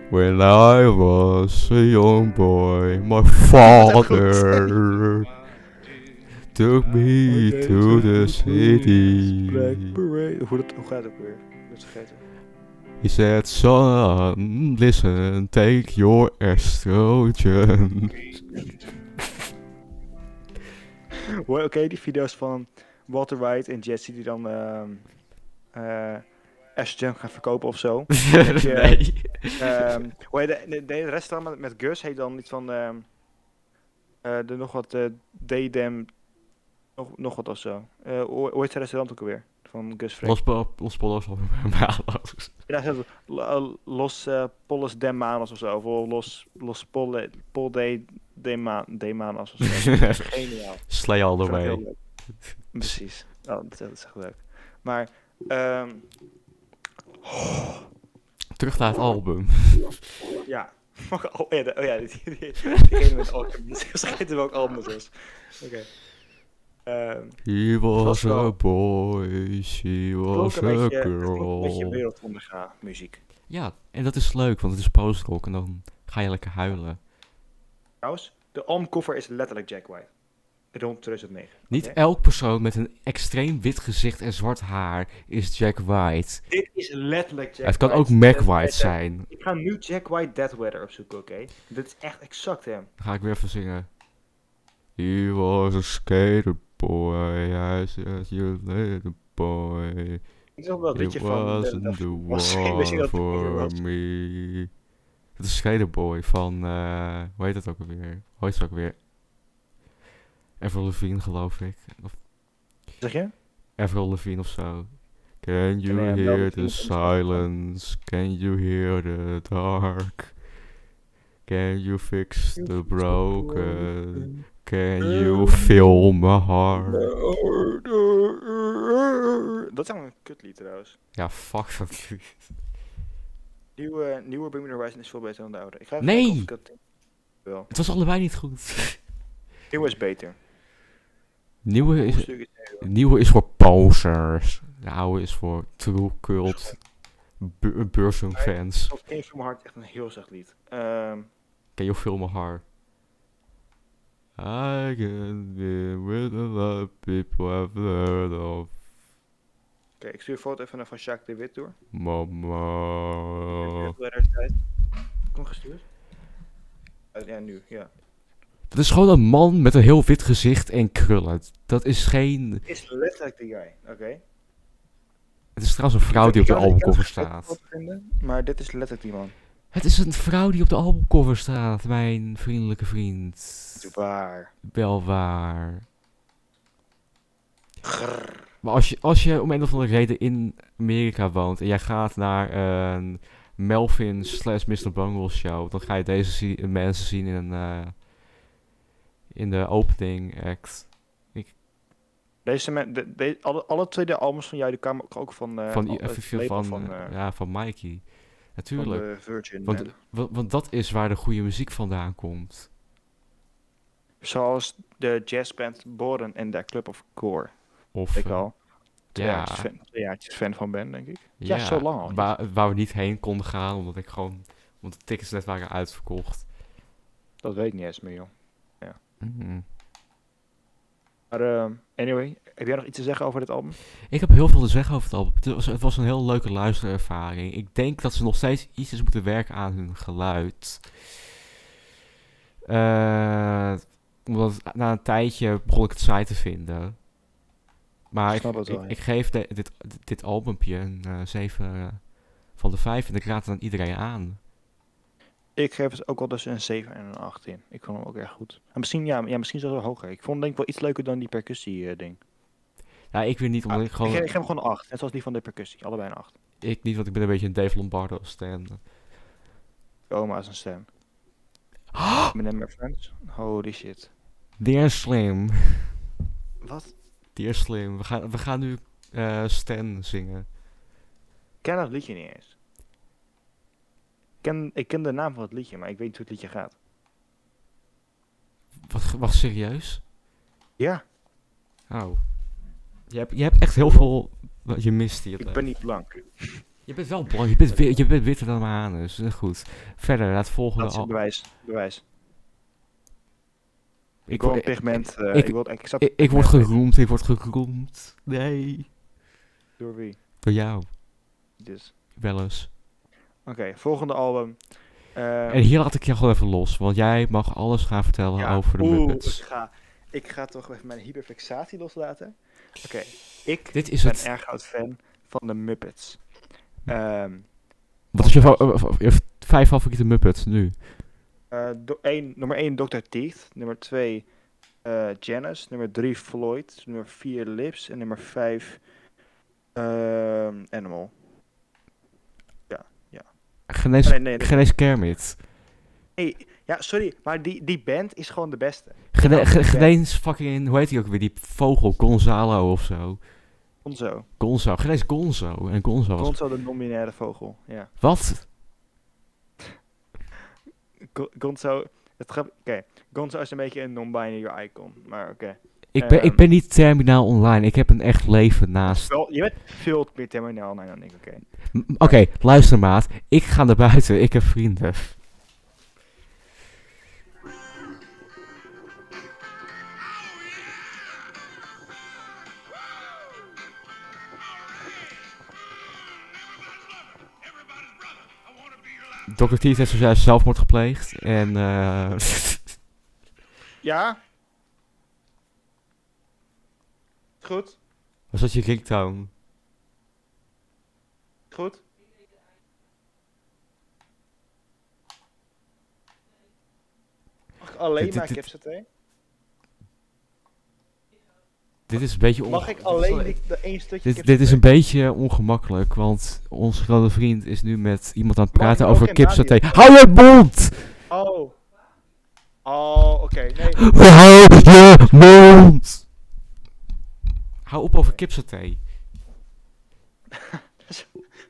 [SPEAKER 2] When I was a young boy, my father took me to the city.
[SPEAKER 1] Parade. Hoe, dat, hoe gaat het ook weer? Ik ben het vergeten.
[SPEAKER 2] He said, son, listen, take your estrogen.
[SPEAKER 1] Hoor, Oké, die video's van Walter White en Jesse die dan ehm eh estrogen gaan verkopen of zo.
[SPEAKER 2] nee.
[SPEAKER 1] Ehm, hoe heet de, de, de rest dan met, met Gus heet dan iets van ehm eh de nog wat eh Daydam nog, nog wat of zo. Eh hoe hoe heet zijn restaurant ook alweer? Van Gus Frank.
[SPEAKER 2] Los Pol- Los Polos of Malos.
[SPEAKER 1] Ja, daar staat L- eh, Los eh, Polles de Manos of zo. Of Los, Los Polle, Pol de, de, Ma- de Manos of zo. Geniaal.
[SPEAKER 2] Slay all the
[SPEAKER 1] Vind ik heel
[SPEAKER 2] way.
[SPEAKER 1] leuk. Precies. Oh, dat dat is echt leuk. Maar, ehm,
[SPEAKER 2] Terug naar het album.
[SPEAKER 1] ja. Oh ja, de- oh, ja die, die, die, diegene met Alchemist. Vergeten welk album het was. Oké. Ehm,
[SPEAKER 2] He
[SPEAKER 1] was
[SPEAKER 2] was
[SPEAKER 1] wel-
[SPEAKER 2] a boy, she
[SPEAKER 1] klonk
[SPEAKER 2] was eh,
[SPEAKER 1] een
[SPEAKER 2] a
[SPEAKER 1] beetje, het klonk een beetje
[SPEAKER 2] girl.
[SPEAKER 1] wereldonderga muziek.
[SPEAKER 2] Ja, en dat is leuk, want het is postrock en dan ga je lekker huilen.
[SPEAKER 1] Trouwens, de albumcover is letterlijk Jack White. Rond 2009.
[SPEAKER 2] Niet
[SPEAKER 1] Oké.
[SPEAKER 2] elk persoon met een extreem wit gezicht en zwart haar is Jack White.
[SPEAKER 1] Dit is letterlijk Jack
[SPEAKER 2] het kan
[SPEAKER 1] White.
[SPEAKER 2] ook Mac
[SPEAKER 1] Dead
[SPEAKER 2] White
[SPEAKER 1] Weather.
[SPEAKER 2] zijn.
[SPEAKER 1] Ik ga nu Jack White Dead Weather opzoeken, oké? Dit is echt exact hem.
[SPEAKER 2] Dan ga ik weer even zingen. He was a skater boy, I said you later boy.
[SPEAKER 1] Ik wil wel dat
[SPEAKER 2] It
[SPEAKER 1] liedje van... eh,
[SPEAKER 2] wasn't
[SPEAKER 1] dat-
[SPEAKER 2] the
[SPEAKER 1] was- ik wist niet dat het
[SPEAKER 2] war
[SPEAKER 1] een cover
[SPEAKER 2] for
[SPEAKER 1] was.
[SPEAKER 2] me. Het is Skater Boy van, eh, hoe heet dat ook alweer? Hoe heet ze ook alweer? Avril Lavigne geloof ik. Of
[SPEAKER 1] Zeg je?
[SPEAKER 2] Avril Lavigne of zo. Can you
[SPEAKER 1] eh, Avril
[SPEAKER 2] hear
[SPEAKER 1] Lavigne
[SPEAKER 2] the
[SPEAKER 1] komt er ook van.
[SPEAKER 2] silence? Can you hear the dark? Can you fix the broken? Can you fill my heart?
[SPEAKER 1] Dat is allemaal een kutlied trouwens.
[SPEAKER 2] Ja, fuck dat.
[SPEAKER 1] Nieuwe, nieuwe Bring Me The Horizon is veel beter dan de oude. Ik ga even
[SPEAKER 2] Nee!
[SPEAKER 1] kijken of ik dat... Wel.
[SPEAKER 2] Het was allebei niet goed.
[SPEAKER 1] Nieuwe is beter.
[SPEAKER 2] Nieuwe is,
[SPEAKER 1] Hoofdstuk is
[SPEAKER 2] De nieuwe is voor posers. De oude is voor true cult bu- Bursum fans.
[SPEAKER 1] Of King From Heart echt een heel zacht lied. Ehm,
[SPEAKER 2] Ken je filmen haar? I can be with a lot of people I've heard of.
[SPEAKER 1] Oké, ik stuur een foto even naar van Jacques de Wit door.
[SPEAKER 2] Mama. Oh.
[SPEAKER 1] Dead Weather is uit. Kom gestuurd? Eh, Oh, ja, nu. Ja.
[SPEAKER 2] Dat is gewoon een man met een heel wit gezicht en krullen. Dat is geen...
[SPEAKER 1] Is letterlijk die guy, oké.
[SPEAKER 2] Het is trouwens een vrouw die op de
[SPEAKER 1] Ik kan- ik kan
[SPEAKER 2] albumcover
[SPEAKER 1] het
[SPEAKER 2] staat.
[SPEAKER 1] goed vinden, Maar dit is letterlijk die man.
[SPEAKER 2] Het is een vrouw die op de albumcover staat, mijn vriendelijke vriend.
[SPEAKER 1] Waar.
[SPEAKER 2] Wel waar.
[SPEAKER 1] Grrr.
[SPEAKER 2] Maar als je, als je om een of andere reden in Amerika woont en jij gaat naar een Melvin slash Mr. Bungle show, dan ga je deze zie- mensen zien in, eh, in de opening act
[SPEAKER 1] Deze men, de, de- alle, alle twee de albums van jou die kwamen ook- ook van, eh
[SPEAKER 2] van,
[SPEAKER 1] al-
[SPEAKER 2] i-
[SPEAKER 1] het
[SPEAKER 2] van,
[SPEAKER 1] label
[SPEAKER 2] van,
[SPEAKER 1] eh,
[SPEAKER 2] eh, ja, van Mikey.
[SPEAKER 1] van
[SPEAKER 2] Natuurlijk.
[SPEAKER 1] de Virgin.
[SPEAKER 2] Want,
[SPEAKER 1] hè.
[SPEAKER 2] wa- want dat is waar de goede muziek vandaan komt.
[SPEAKER 1] Zoals de jazzband Boren en de Club of Core.
[SPEAKER 2] Of,
[SPEAKER 1] Ik
[SPEAKER 2] eh,
[SPEAKER 1] al twee
[SPEAKER 2] ja.
[SPEAKER 1] jaartjes fan, twee jaartjes fan van ben, denk ik. Ja, zo lang al.
[SPEAKER 2] eh, Waar, waar we niet heen konden gaan, omdat ik gewoon. Want de tickets net waren uitverkocht.
[SPEAKER 1] Dat weet ik niet eens meer, joh.
[SPEAKER 2] Mhm.
[SPEAKER 1] Maar ehm, anyway, heb jij nog iets te zeggen over dit album?
[SPEAKER 2] Ik heb heel veel te zeggen over het album. Het was, het was een heel leuke luisterervaring. Ik denk dat ze nog steeds iets eens moeten werken aan hun geluid. Eh, omdat het- na een tijdje begon ik het saai te vinden. Maar
[SPEAKER 1] Ik
[SPEAKER 2] ik,
[SPEAKER 1] snap het wel,
[SPEAKER 2] ik-
[SPEAKER 1] ja.
[SPEAKER 2] ik geef de- dit, dit albumpje een eh 7 eh, van de 5 en ik raad het aan iedereen aan.
[SPEAKER 1] Ik geef het ook wel tussen een 7 en een 8 in. Ik vond hem ook echt goed. En misschien, ja, ja, misschien zelfs wel hoger. Ik vond hem denk ik wel iets leuker dan die percussie-ding.
[SPEAKER 2] Ja, ik weet niet, omdat ik
[SPEAKER 1] Ah, ik,
[SPEAKER 2] gewoon...
[SPEAKER 1] ge- ik geef hem gewoon een 8. Net zoals die van de percussie. Allebei een 8.
[SPEAKER 2] Ik niet, want ik ben een beetje een Dave Lombardo stand.
[SPEAKER 1] Oma is een stem. Meneer My Friends. Holy shit.
[SPEAKER 2] Dear Slim.
[SPEAKER 1] Wat?
[SPEAKER 2] Dear Slim. We gaan, we gaan nu eh, Stan zingen.
[SPEAKER 1] Ik ken dat liedje niet eens. Ik ken, ik ken de naam van het liedje, maar ik weet niet hoe het liedje gaat.
[SPEAKER 2] Wat, wacht, serieus?
[SPEAKER 1] Ja,
[SPEAKER 2] Oh. Je hebt, je hebt echt heel veel... wat Je mist hier.
[SPEAKER 1] ik ben niet blank.
[SPEAKER 2] Je bent wel blank. Je bent, wi- je bent witter dan mijn anus. Eh, Goed. Verder, naar het volgende...
[SPEAKER 1] Dat is
[SPEAKER 2] al-
[SPEAKER 1] het bewijs. bewijs. Ik wil
[SPEAKER 2] word-
[SPEAKER 1] een pigment. eh,
[SPEAKER 2] ik-
[SPEAKER 1] ik, wil, ik snap
[SPEAKER 2] Ik, ik word geroemd. Ik word geroemd. Nee.
[SPEAKER 1] door wie.
[SPEAKER 2] Door jou.
[SPEAKER 1] Dus.
[SPEAKER 2] Wel eens.
[SPEAKER 1] Oké, volgende album. Eh,
[SPEAKER 2] En hier laat ik je gewoon even los. Want jij mag alles gaan vertellen
[SPEAKER 1] ja,
[SPEAKER 2] over de
[SPEAKER 1] oeh,
[SPEAKER 2] Muppets.
[SPEAKER 1] Ik ga, ik ga toch even mijn hyperfixatie loslaten. Oké, ik
[SPEAKER 2] Dit is
[SPEAKER 1] ben
[SPEAKER 2] het...
[SPEAKER 1] erg groot fan van de Muppets. Ehm
[SPEAKER 2] Wat is je, fa- eh, eh, je vijf favoriete Muppets nu?
[SPEAKER 1] eh, do- één- nummer 1 Dr. Teeth. Nummer 2 eh Janice. Nummer 3 Floyd. Nummer 4 Lips. En nummer 5 Animal. Oh,
[SPEAKER 2] Genees,
[SPEAKER 1] Nee, nee, nee.
[SPEAKER 2] Genees Kermit.
[SPEAKER 1] Hey, ja, sorry, maar die, die band is gewoon de beste.
[SPEAKER 2] Gene,
[SPEAKER 1] Ja,
[SPEAKER 2] e- ge-
[SPEAKER 1] ja.
[SPEAKER 2] Genees fucking, hoe heet hij ook weer? Die vogel, Gonzalo of zo.
[SPEAKER 1] Gonzo.
[SPEAKER 2] Gonzo, Genees Gonzo. En Gonzo was...
[SPEAKER 1] Gonzo, de non-binaire vogel. Ja.
[SPEAKER 2] Wat?
[SPEAKER 1] Go- Gonzo, het grap... Oké, Gonzo is een beetje een non-binary icon, maar oké.
[SPEAKER 2] Ik ben, ik
[SPEAKER 1] Ehm.
[SPEAKER 2] ben niet terminaal online. Ik heb een echt leven naast...
[SPEAKER 1] Wel, je bent veel meer terminaal nee, dan ik, oké.
[SPEAKER 2] M- m- Oké, luister maat. Ik ga naar buiten. Ik heb vrienden. Dr. Teeth heeft zojuist zelfmoord gepleegd. En eh
[SPEAKER 1] Ja? Goed,
[SPEAKER 2] was dat je ringtone?
[SPEAKER 1] goed. Mag ik alleen
[SPEAKER 2] Dit-
[SPEAKER 1] maar
[SPEAKER 2] dit-
[SPEAKER 1] kipsaté?
[SPEAKER 2] Dit is een beetje
[SPEAKER 1] Mag
[SPEAKER 2] onge-
[SPEAKER 1] ik alleen die- dat één stukje
[SPEAKER 2] Dit, dit is
[SPEAKER 1] kipsaté?
[SPEAKER 2] een beetje ongemakkelijk, want onze grote vriend is nu met iemand aan het
[SPEAKER 1] Mag ik
[SPEAKER 2] praten
[SPEAKER 1] ook
[SPEAKER 2] over
[SPEAKER 1] in
[SPEAKER 2] kipsaté.
[SPEAKER 1] radio?
[SPEAKER 2] Hou je mond!
[SPEAKER 1] Oh. Oh, oké. Nee,
[SPEAKER 2] Hou je mond! Hou op over kipsaté.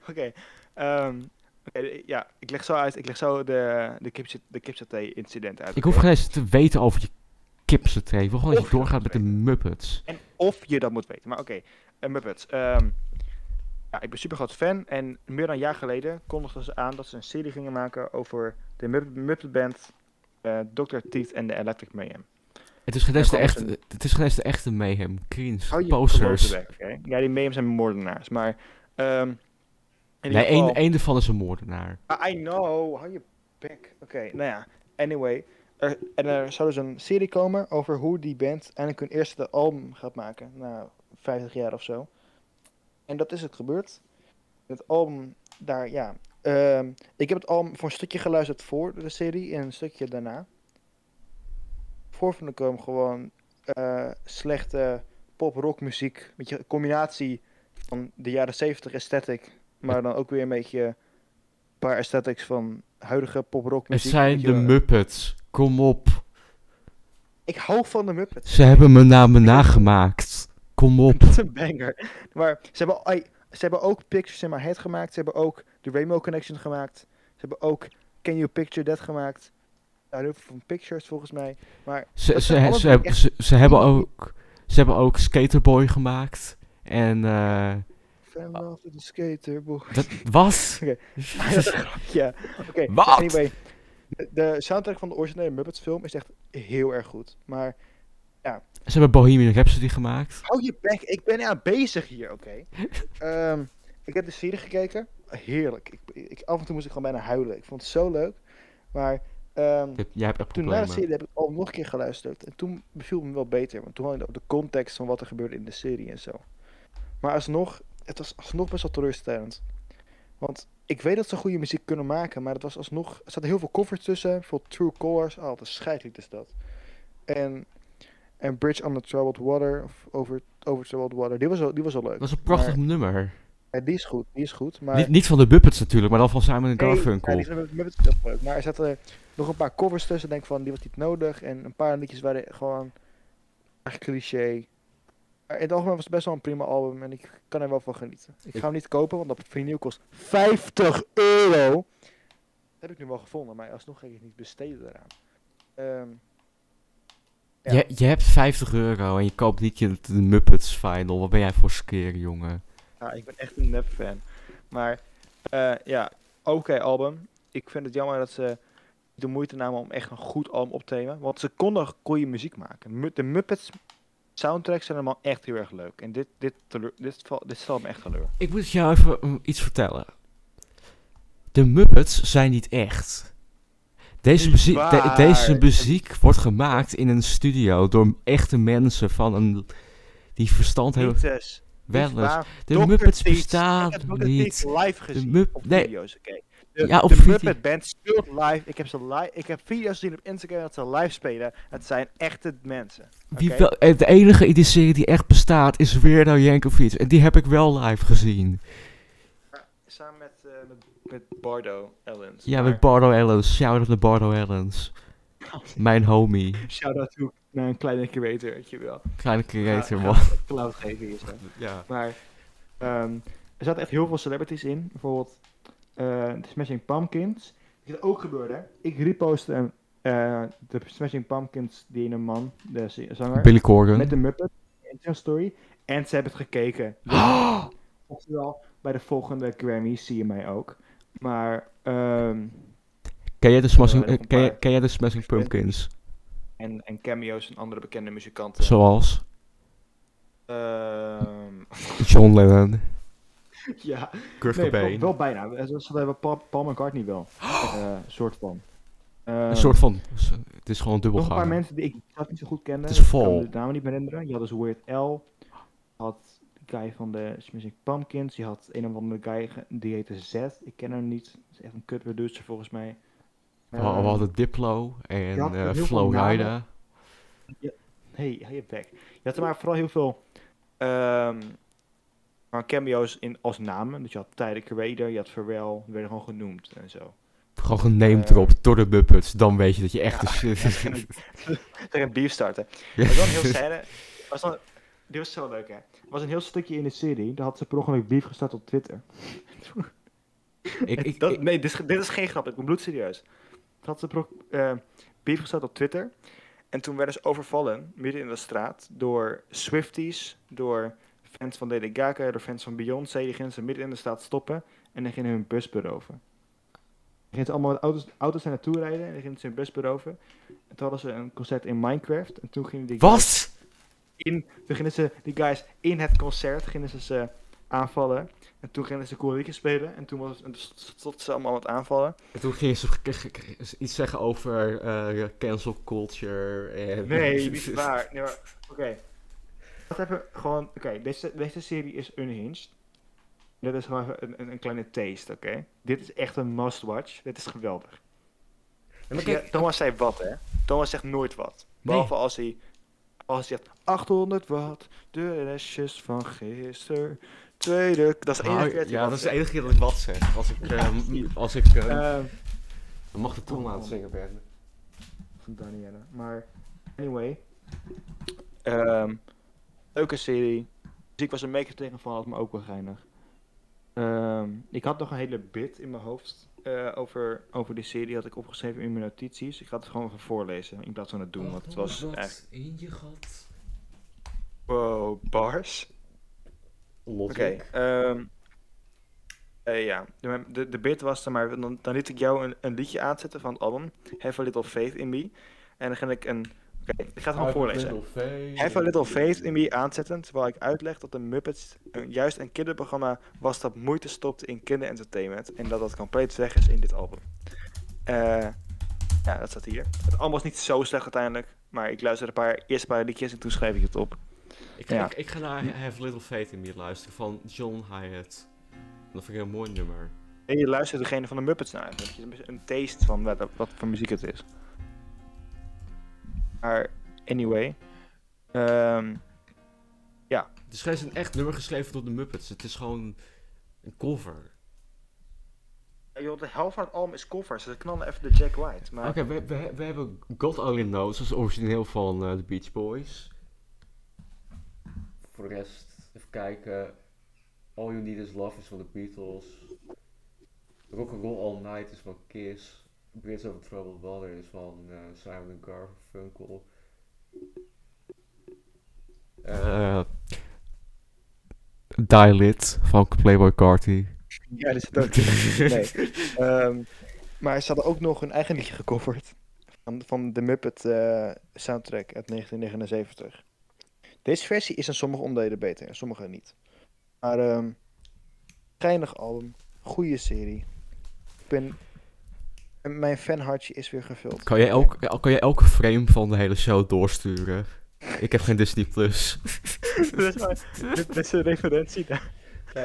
[SPEAKER 1] Oké. ehm, oké, de- ja, ik leg zo uit. Ik leg zo de, de, kipsa- de kipsaté-incident uit.
[SPEAKER 2] Ik
[SPEAKER 1] oké?
[SPEAKER 2] hoef geen eens te weten over je kipsaté. Ik wil gewoon dat
[SPEAKER 1] Of
[SPEAKER 2] je
[SPEAKER 1] je
[SPEAKER 2] doorgaat met de Muppets.
[SPEAKER 1] En of je dat moet weten. Maar oké, eh, Muppets. ehm, ja, ik ben super groot fan. En meer dan een jaar geleden kondigden ze aan dat ze een serie gingen maken over de Mupp- Muppet Band, eh, Dr. Teeth en de Electric Mayhem.
[SPEAKER 2] Het is geen eens de
[SPEAKER 1] Er komt
[SPEAKER 2] echte, het is geen eens de echte mayhem. Cringe,
[SPEAKER 1] kloten
[SPEAKER 2] posters.
[SPEAKER 1] weg, oké? Ja, die Mayhem zijn moordenaars. Maar, ehm in ieder
[SPEAKER 2] Nee, één
[SPEAKER 1] geval- Ah,
[SPEAKER 2] één daarvan is een moordenaar.
[SPEAKER 1] I I know, hou je bek. Oké, nou ja, anyway. Er, en er zou dus een serie komen over hoe die band eindelijk hun eerste album gaat maken. Na 50 jaar of zo. En dat is het gebeurd. Het album daar, ja. Ehm, ik heb het album voor een stukje geluisterd voor de serie en een stukje daarna. Voor vond ik hem gewoon eh, slechte pop-rock muziek. Weet je, een combinatie van de jaren 70 aesthetic, maar dan ook weer een beetje een paar aesthetics van huidige pop-rock
[SPEAKER 2] Het
[SPEAKER 1] muziek.
[SPEAKER 2] zijn
[SPEAKER 1] weet
[SPEAKER 2] de
[SPEAKER 1] je wel.
[SPEAKER 2] Muppets. Kom op.
[SPEAKER 1] Ik hou van de Muppets.
[SPEAKER 2] Ze hebben mijn namen nagemaakt. Kom op.
[SPEAKER 1] Dat is een banger. Maar ze hebben, ai, ze hebben ook Pictures in My Head gemaakt. Ze hebben ook The Rainbow Connection gemaakt. Ze hebben ook Can You Picture That gemaakt. Nou, heel veel van Pictures volgens mij. Maar
[SPEAKER 2] Ze,
[SPEAKER 1] Dat
[SPEAKER 2] ze,
[SPEAKER 1] zijn
[SPEAKER 2] he-
[SPEAKER 1] allemaal
[SPEAKER 2] ze, heb-
[SPEAKER 1] echt
[SPEAKER 2] ze, ze hebben
[SPEAKER 1] die-
[SPEAKER 2] ook, ze hebben ook Skaterboy gemaakt. En eh,
[SPEAKER 1] Fan of the Skater, boy.
[SPEAKER 2] dat was...
[SPEAKER 1] Oké. Ja, oké.
[SPEAKER 2] Wat?
[SPEAKER 1] Anyway, de soundtrack van de originele Muppets film is echt heel erg goed. Maar
[SPEAKER 2] Ze hebben Bohemian Rhapsody gemaakt.
[SPEAKER 1] hou je bek, ik ben aan bezig hier, oké. Ehm, ik heb de serie gekeken. Heerlijk. Ik, ik, af en toe moest ik gewoon bijna huilen. Ik vond het zo leuk. Maar... ehm,
[SPEAKER 2] Je hebt- Jij hebt echt
[SPEAKER 1] Toen na de
[SPEAKER 2] problemen.
[SPEAKER 1] serie heb ik al nog een keer geluisterd. En toen beviel het me wel beter. Want toen had ik ook de context van wat er gebeurde in de serie en zo. Maar alsnog, het was alsnog best wel teleurstellend. Want ik weet dat ze goede muziek kunnen maken. Maar het was alsnog, er zaten heel veel covers tussen. Bijvoorbeeld True Colors. Ah, wat een scheidlied is dat. En, en Bridge on the Troubled Water. Of over, over Troubled Water. Die was al, die was al leuk.
[SPEAKER 2] Dat is een prachtig nummer.
[SPEAKER 1] Ja, die is goed, die is goed. Maar
[SPEAKER 2] Niet, niet van de Muppets natuurlijk, maar dan van Simon en
[SPEAKER 1] Nee, ja,
[SPEAKER 2] Garfunkel.
[SPEAKER 1] die zijn met, met, met, maar er zaten nog een paar covers tussen. Denk van, die was niet nodig. En een paar liedjes waren gewoon echt cliché. Maar in het algemeen was het best wel een prima album. En ik kan er wel van genieten. Ik,
[SPEAKER 2] Ik-
[SPEAKER 1] ga hem niet kopen, want dat vinyl kost 50 euro. Dat heb ik nu wel gevonden, maar alsnog ga ik het niet besteden eraan. Ehm, ja.
[SPEAKER 2] je, je hebt 50 euro en je koopt niet je, de Muppets final. Wat ben jij voor skeer, jongen?
[SPEAKER 1] Ja, ik ben echt een nep fan. Maar eh, ja, oké album. Ik vind het jammer dat ze niet de moeite namen om echt een goed album op te nemen. Want ze konden goede muziek maken. Mu- De Muppets soundtracks zijn allemaal echt heel erg leuk. En dit, dit, teleur, dit, val- dit stelt me echt teleur.
[SPEAKER 2] Ik moet jou even mm, iets vertellen. De Muppets zijn niet echt. Deze,
[SPEAKER 1] Niet
[SPEAKER 2] muziek, de-
[SPEAKER 1] waar.
[SPEAKER 2] deze muziek wordt gemaakt in een studio door echte mensen van een... Die verstand hebben...
[SPEAKER 1] Pieters,
[SPEAKER 2] Wel
[SPEAKER 1] eh, niet
[SPEAKER 2] eens.
[SPEAKER 1] waar.
[SPEAKER 2] De
[SPEAKER 1] Dr.
[SPEAKER 2] Muppets
[SPEAKER 1] Teats.
[SPEAKER 2] bestaan
[SPEAKER 1] Ik heb Dr. Teats
[SPEAKER 2] niet.
[SPEAKER 1] live gezien
[SPEAKER 2] Mupp-
[SPEAKER 1] op
[SPEAKER 2] nee.
[SPEAKER 1] video's. oké. De,
[SPEAKER 2] Ja, op
[SPEAKER 1] de
[SPEAKER 2] video-
[SPEAKER 1] Muppet Band speelt live. Ik heb, ze live. ik heb video's gezien op Instagram dat ze live spelen. Het zijn echte mensen.
[SPEAKER 2] Wie
[SPEAKER 1] Oké.
[SPEAKER 2] wel, eh, de enige in die serie die echt bestaat is Weirdo Yankovic. En die heb ik wel live gezien.
[SPEAKER 1] Samen met, eh, met, met Bardo Ellens.
[SPEAKER 2] Ja,
[SPEAKER 1] Maar-
[SPEAKER 2] met Bardo Ellens. Shout-out naar Bardo Ellens.
[SPEAKER 1] Oh,
[SPEAKER 2] Mijn homie.
[SPEAKER 1] Shout-out ook naar een kleine creator, weet je wel.
[SPEAKER 2] Kleine creator,
[SPEAKER 1] Ga-
[SPEAKER 2] man.
[SPEAKER 1] ga- Cloud geven hier zo.
[SPEAKER 2] Ja.
[SPEAKER 1] Maar ehm, er zaten echt heel veel celebrities in. Bijvoorbeeld eh, de Smashing Pumpkins. Wat ook gebeurde, hè. ik repostte een, eh, de Smashing Pumpkins, die ene man, de z- zanger,
[SPEAKER 2] Billy Corgan.
[SPEAKER 1] met de Muppet, in zijn story. En ze hebben het gekeken. Dus Oftewel, bij de volgende Grammy zie je mij ook. Maar, ehm,
[SPEAKER 2] Ken jij de Smashing,
[SPEAKER 1] Ja, nog
[SPEAKER 2] eh,
[SPEAKER 1] een
[SPEAKER 2] ken, jij-
[SPEAKER 1] paar.
[SPEAKER 2] ken jij de smashing Pumpkins?
[SPEAKER 1] en, en cameo's en andere bekende muzikanten.
[SPEAKER 2] Zoals
[SPEAKER 1] Ehm,
[SPEAKER 2] John Lennon.
[SPEAKER 1] ja,
[SPEAKER 2] Kurt
[SPEAKER 1] Nee, wel, wel bijna. Eh, Ze ze hebben Paul, Paul McCartney wel. Eh soort van. Ehm,
[SPEAKER 2] Een soort van... Het is gewoon
[SPEAKER 1] Nog een paar
[SPEAKER 2] dubbelgang.
[SPEAKER 1] mensen die ik zelf niet zo goed kende.
[SPEAKER 2] Het is vol.
[SPEAKER 1] Ik kan me de namen niet meer herinneren. Je had dus Weird L. Je had de guy van de Smashing Pumpkins. Je had een of andere guy ge- die heette Z. Ik ken hem niet. Dat is echt een kut producer volgens mij.
[SPEAKER 2] We, we
[SPEAKER 1] Ehm,
[SPEAKER 2] hadden Diplo en
[SPEAKER 1] had
[SPEAKER 2] eh
[SPEAKER 1] heel veel
[SPEAKER 2] Flo
[SPEAKER 1] namen.
[SPEAKER 2] Rida.
[SPEAKER 1] Hey, hou je bek. Je had er maar vooral heel veel ehm, maar cameo's in, als namen. Dus je had Tyler Creator, je had Pharrell. Die werden gewoon genoemd en zo.
[SPEAKER 2] Gewoon genamed
[SPEAKER 1] Eh.
[SPEAKER 2] erop door de Muppets. Dan weet je dat je echt de shit...
[SPEAKER 1] en Tegen een beef starten.
[SPEAKER 2] Ja.
[SPEAKER 1] Dat was wel een heel scène. Was dan, die was zo leuk, hè. Er was een heel stukje in de serie. Daar had ze per ongeluk beef gestart op Twitter.
[SPEAKER 2] Ik- ik-
[SPEAKER 1] dat,
[SPEAKER 2] ik-
[SPEAKER 1] nee, dit is, ge- dit is geen grap. Ik ben bloedserieus. Toen had ze per ongeluk, eh, beef gestart op Twitter. En toen werden ze overvallen, midden in de straat, door Swifties, door fans van Lady Gaga, door fans van Beyoncé. Die gingen ze midden in de straat stoppen en die gingen hun bus beroven. Die gingen ze allemaal met auto's, auto's naar naartoe rijden en die gingen ze hun bus beroven. En toen hadden ze een concert in Minecraft. En toen gingen die
[SPEAKER 2] Wat?
[SPEAKER 1] in, toen gingen ze die guys in het concert gingen ze, ze aanvallen. En toen gingen ze Koreaanse spelen. En toen was en toen stonden ze allemaal aan het aanvallen.
[SPEAKER 2] En toen gingen ze k- k- k- iets zeggen over eh, cancel culture. En
[SPEAKER 1] Nee, niet waar. Nee, maar- Oké. Wat hebben we gewoon... Oké, deze, deze serie is unhinged. Dit is gewoon even een, een, een kleine taste, oké? Dit is echt een must-watch. Dit is geweldig.
[SPEAKER 2] Ja, maar
[SPEAKER 1] Zie je,
[SPEAKER 2] kijk,
[SPEAKER 1] Thomas zei wat, hè? Thomas zegt nooit wat. Behalve als hij... Als hij zegt 800 watt, de restjes van gisteren, tweede... Dat is de
[SPEAKER 2] Ah,
[SPEAKER 1] enige keer dat hij
[SPEAKER 2] ja,
[SPEAKER 1] wat
[SPEAKER 2] dat is de
[SPEAKER 1] zegt.
[SPEAKER 2] enige keer dat ik wat zeg. Als ik, eh, m- als ik eh,
[SPEAKER 1] Ehm,
[SPEAKER 2] mag de tong laten zingen ben.
[SPEAKER 1] van Danielle. Maar anyway. Ehm, leuke serie. Muziek was een beetje tegenvallend, maar ook wel geinig. Ehm, ik had nog een hele bit in mijn hoofd eh, over, over die serie. had ik opgeschreven in mijn notities. Ik ga het gewoon even voorlezen in plaats van het doen. Want het was echt...
[SPEAKER 2] in je gat.
[SPEAKER 1] Wow, bars. Oké. ehm, eh, ja, de, de, de bit was er maar. Dan, dan liet ik jou een, een liedje aanzetten van het album. Have a Little Faith in Me. En dan ging ik een. Oké, ik ga het gewoon voorlezen. Have a Little Faith in Me aanzetten terwijl ik uitleg dat de Muppets een- juist een kinderprogramma was dat moeite stopte in kinderentertainment en dat dat compleet weg is in dit album. Eh, ja, dat staat hier. Het album was niet zo slecht uiteindelijk, maar ik luisterde een paar, eerst een paar liedjes en toen schreef ik het op.
[SPEAKER 2] Ik, ga-
[SPEAKER 1] Ja.
[SPEAKER 2] ik, ik ga naar Have Little Faith in Me luisteren van John Hyatt. Dat vind ik een mooi nummer.
[SPEAKER 1] En je luistert degene van de Muppets naar eigenlijk. Je hebt een taste van wat, wat voor muziek het is. Maar anyway. Ehm,
[SPEAKER 2] Het Dus is geen een echt nummer geschreven door de Muppets. Het is gewoon een cover.
[SPEAKER 1] joh, de helft van het album is covers. Ze knallen even de Jack White. Maar
[SPEAKER 2] Oké, we, we, we hebben God Only Knows, dat is origineel van eh, de Beach Boys. Voor de rest, even kijken. All You Need Is Love is van de Beatles. Rock'n'Roll All Night is van Kiss. Bridge Over Troubled Water is van eh, Simon and Garfunkel. Eh Die Lit van Playboy Carty.
[SPEAKER 1] Ja, dus dat zit ook in. Nee. Ehm, maar ze hadden ook nog hun eigen liedje gecoverd. Van, van de Muppet eh, soundtrack uit 1979. Deze versie is in sommige onderdelen beter en sommige niet. Maar ehm geinig album, goede serie. Ik ben, en mijn fanhartje is weer gevuld.
[SPEAKER 2] Kan jij, elk, kan jij elke frame van de hele show doorsturen? Ik heb geen Disney Plus.
[SPEAKER 1] dit, is maar- dit is een referentie daar.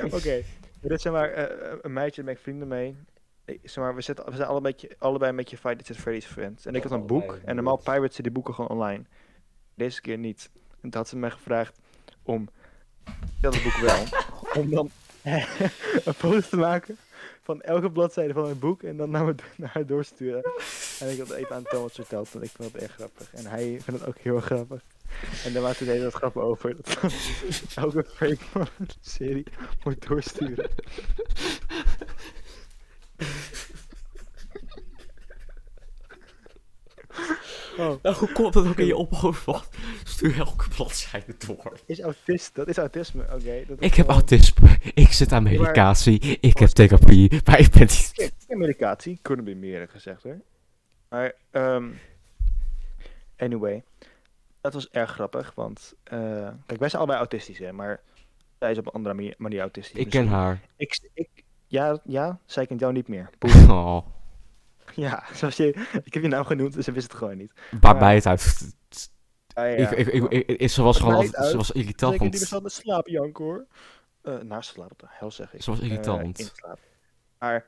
[SPEAKER 1] Oké, dit zijn maar eh, een meidje, daar ben ik vrienden mee. Ik, zeg maar, we, zitten, we zijn alle beetje, allebei een beetje Five Nights at Freddy's friends. En ik had een
[SPEAKER 2] Allebei
[SPEAKER 1] boek,
[SPEAKER 2] een
[SPEAKER 1] en normaal
[SPEAKER 2] boek.
[SPEAKER 1] piraten ze die boeken gewoon online. Deze keer niet. En toen had ze mij gevraagd om, dat het boek wel, om dan een foto te maken van elke bladzijde van mijn boek en dan naar, me, naar haar doorsturen. En ik had het even aan Thomas verteld, want ik vond het erg grappig. En hij vindt het ook heel erg grappig. En daar maakte hij hele tijd grappen over. Dat elke frame van de serie moet doorsturen. Oh,
[SPEAKER 2] Nou, hoe komt dat ook in je ophoofd? Wat? Stuur elke bladzijde door.
[SPEAKER 1] is autist, dat is autisme, oké. dat is
[SPEAKER 2] Ik heb
[SPEAKER 1] gewoon-
[SPEAKER 2] autisme. Ik zit aan medicatie. Ik heb therapie. Maar ik ben niet...
[SPEAKER 1] Ja, ja, medicatie. Kunnen we meer hebben gezegd hoor. Maar, ehm, anyway. Dat was erg grappig, want... eh, kijk, wij zijn allebei autistisch, hè. Maar zij is op een andere manier, manier autistisch.
[SPEAKER 2] Ik ken
[SPEAKER 1] misschien.
[SPEAKER 2] haar.
[SPEAKER 1] Ik, ik, ja, ja, zij kent jou niet meer.
[SPEAKER 2] Oh,
[SPEAKER 1] Ja, zoals je... Ik heb je naam genoemd, dus ze wist het gewoon niet.
[SPEAKER 2] waar mij het uit.
[SPEAKER 1] Ah, ja.
[SPEAKER 2] Ik, ik, ik, ik- ik- ze was gewoon
[SPEAKER 1] Maakt
[SPEAKER 2] altijd, ze
[SPEAKER 1] uit.
[SPEAKER 2] was irritant.
[SPEAKER 1] Zeker die
[SPEAKER 2] want-
[SPEAKER 1] bestond met slaap, Janko, hoor. Eh naar slaap, wat de hel zeg ik.
[SPEAKER 2] Ze was
[SPEAKER 1] Eh,
[SPEAKER 2] irritant.
[SPEAKER 1] in slaap. Maar,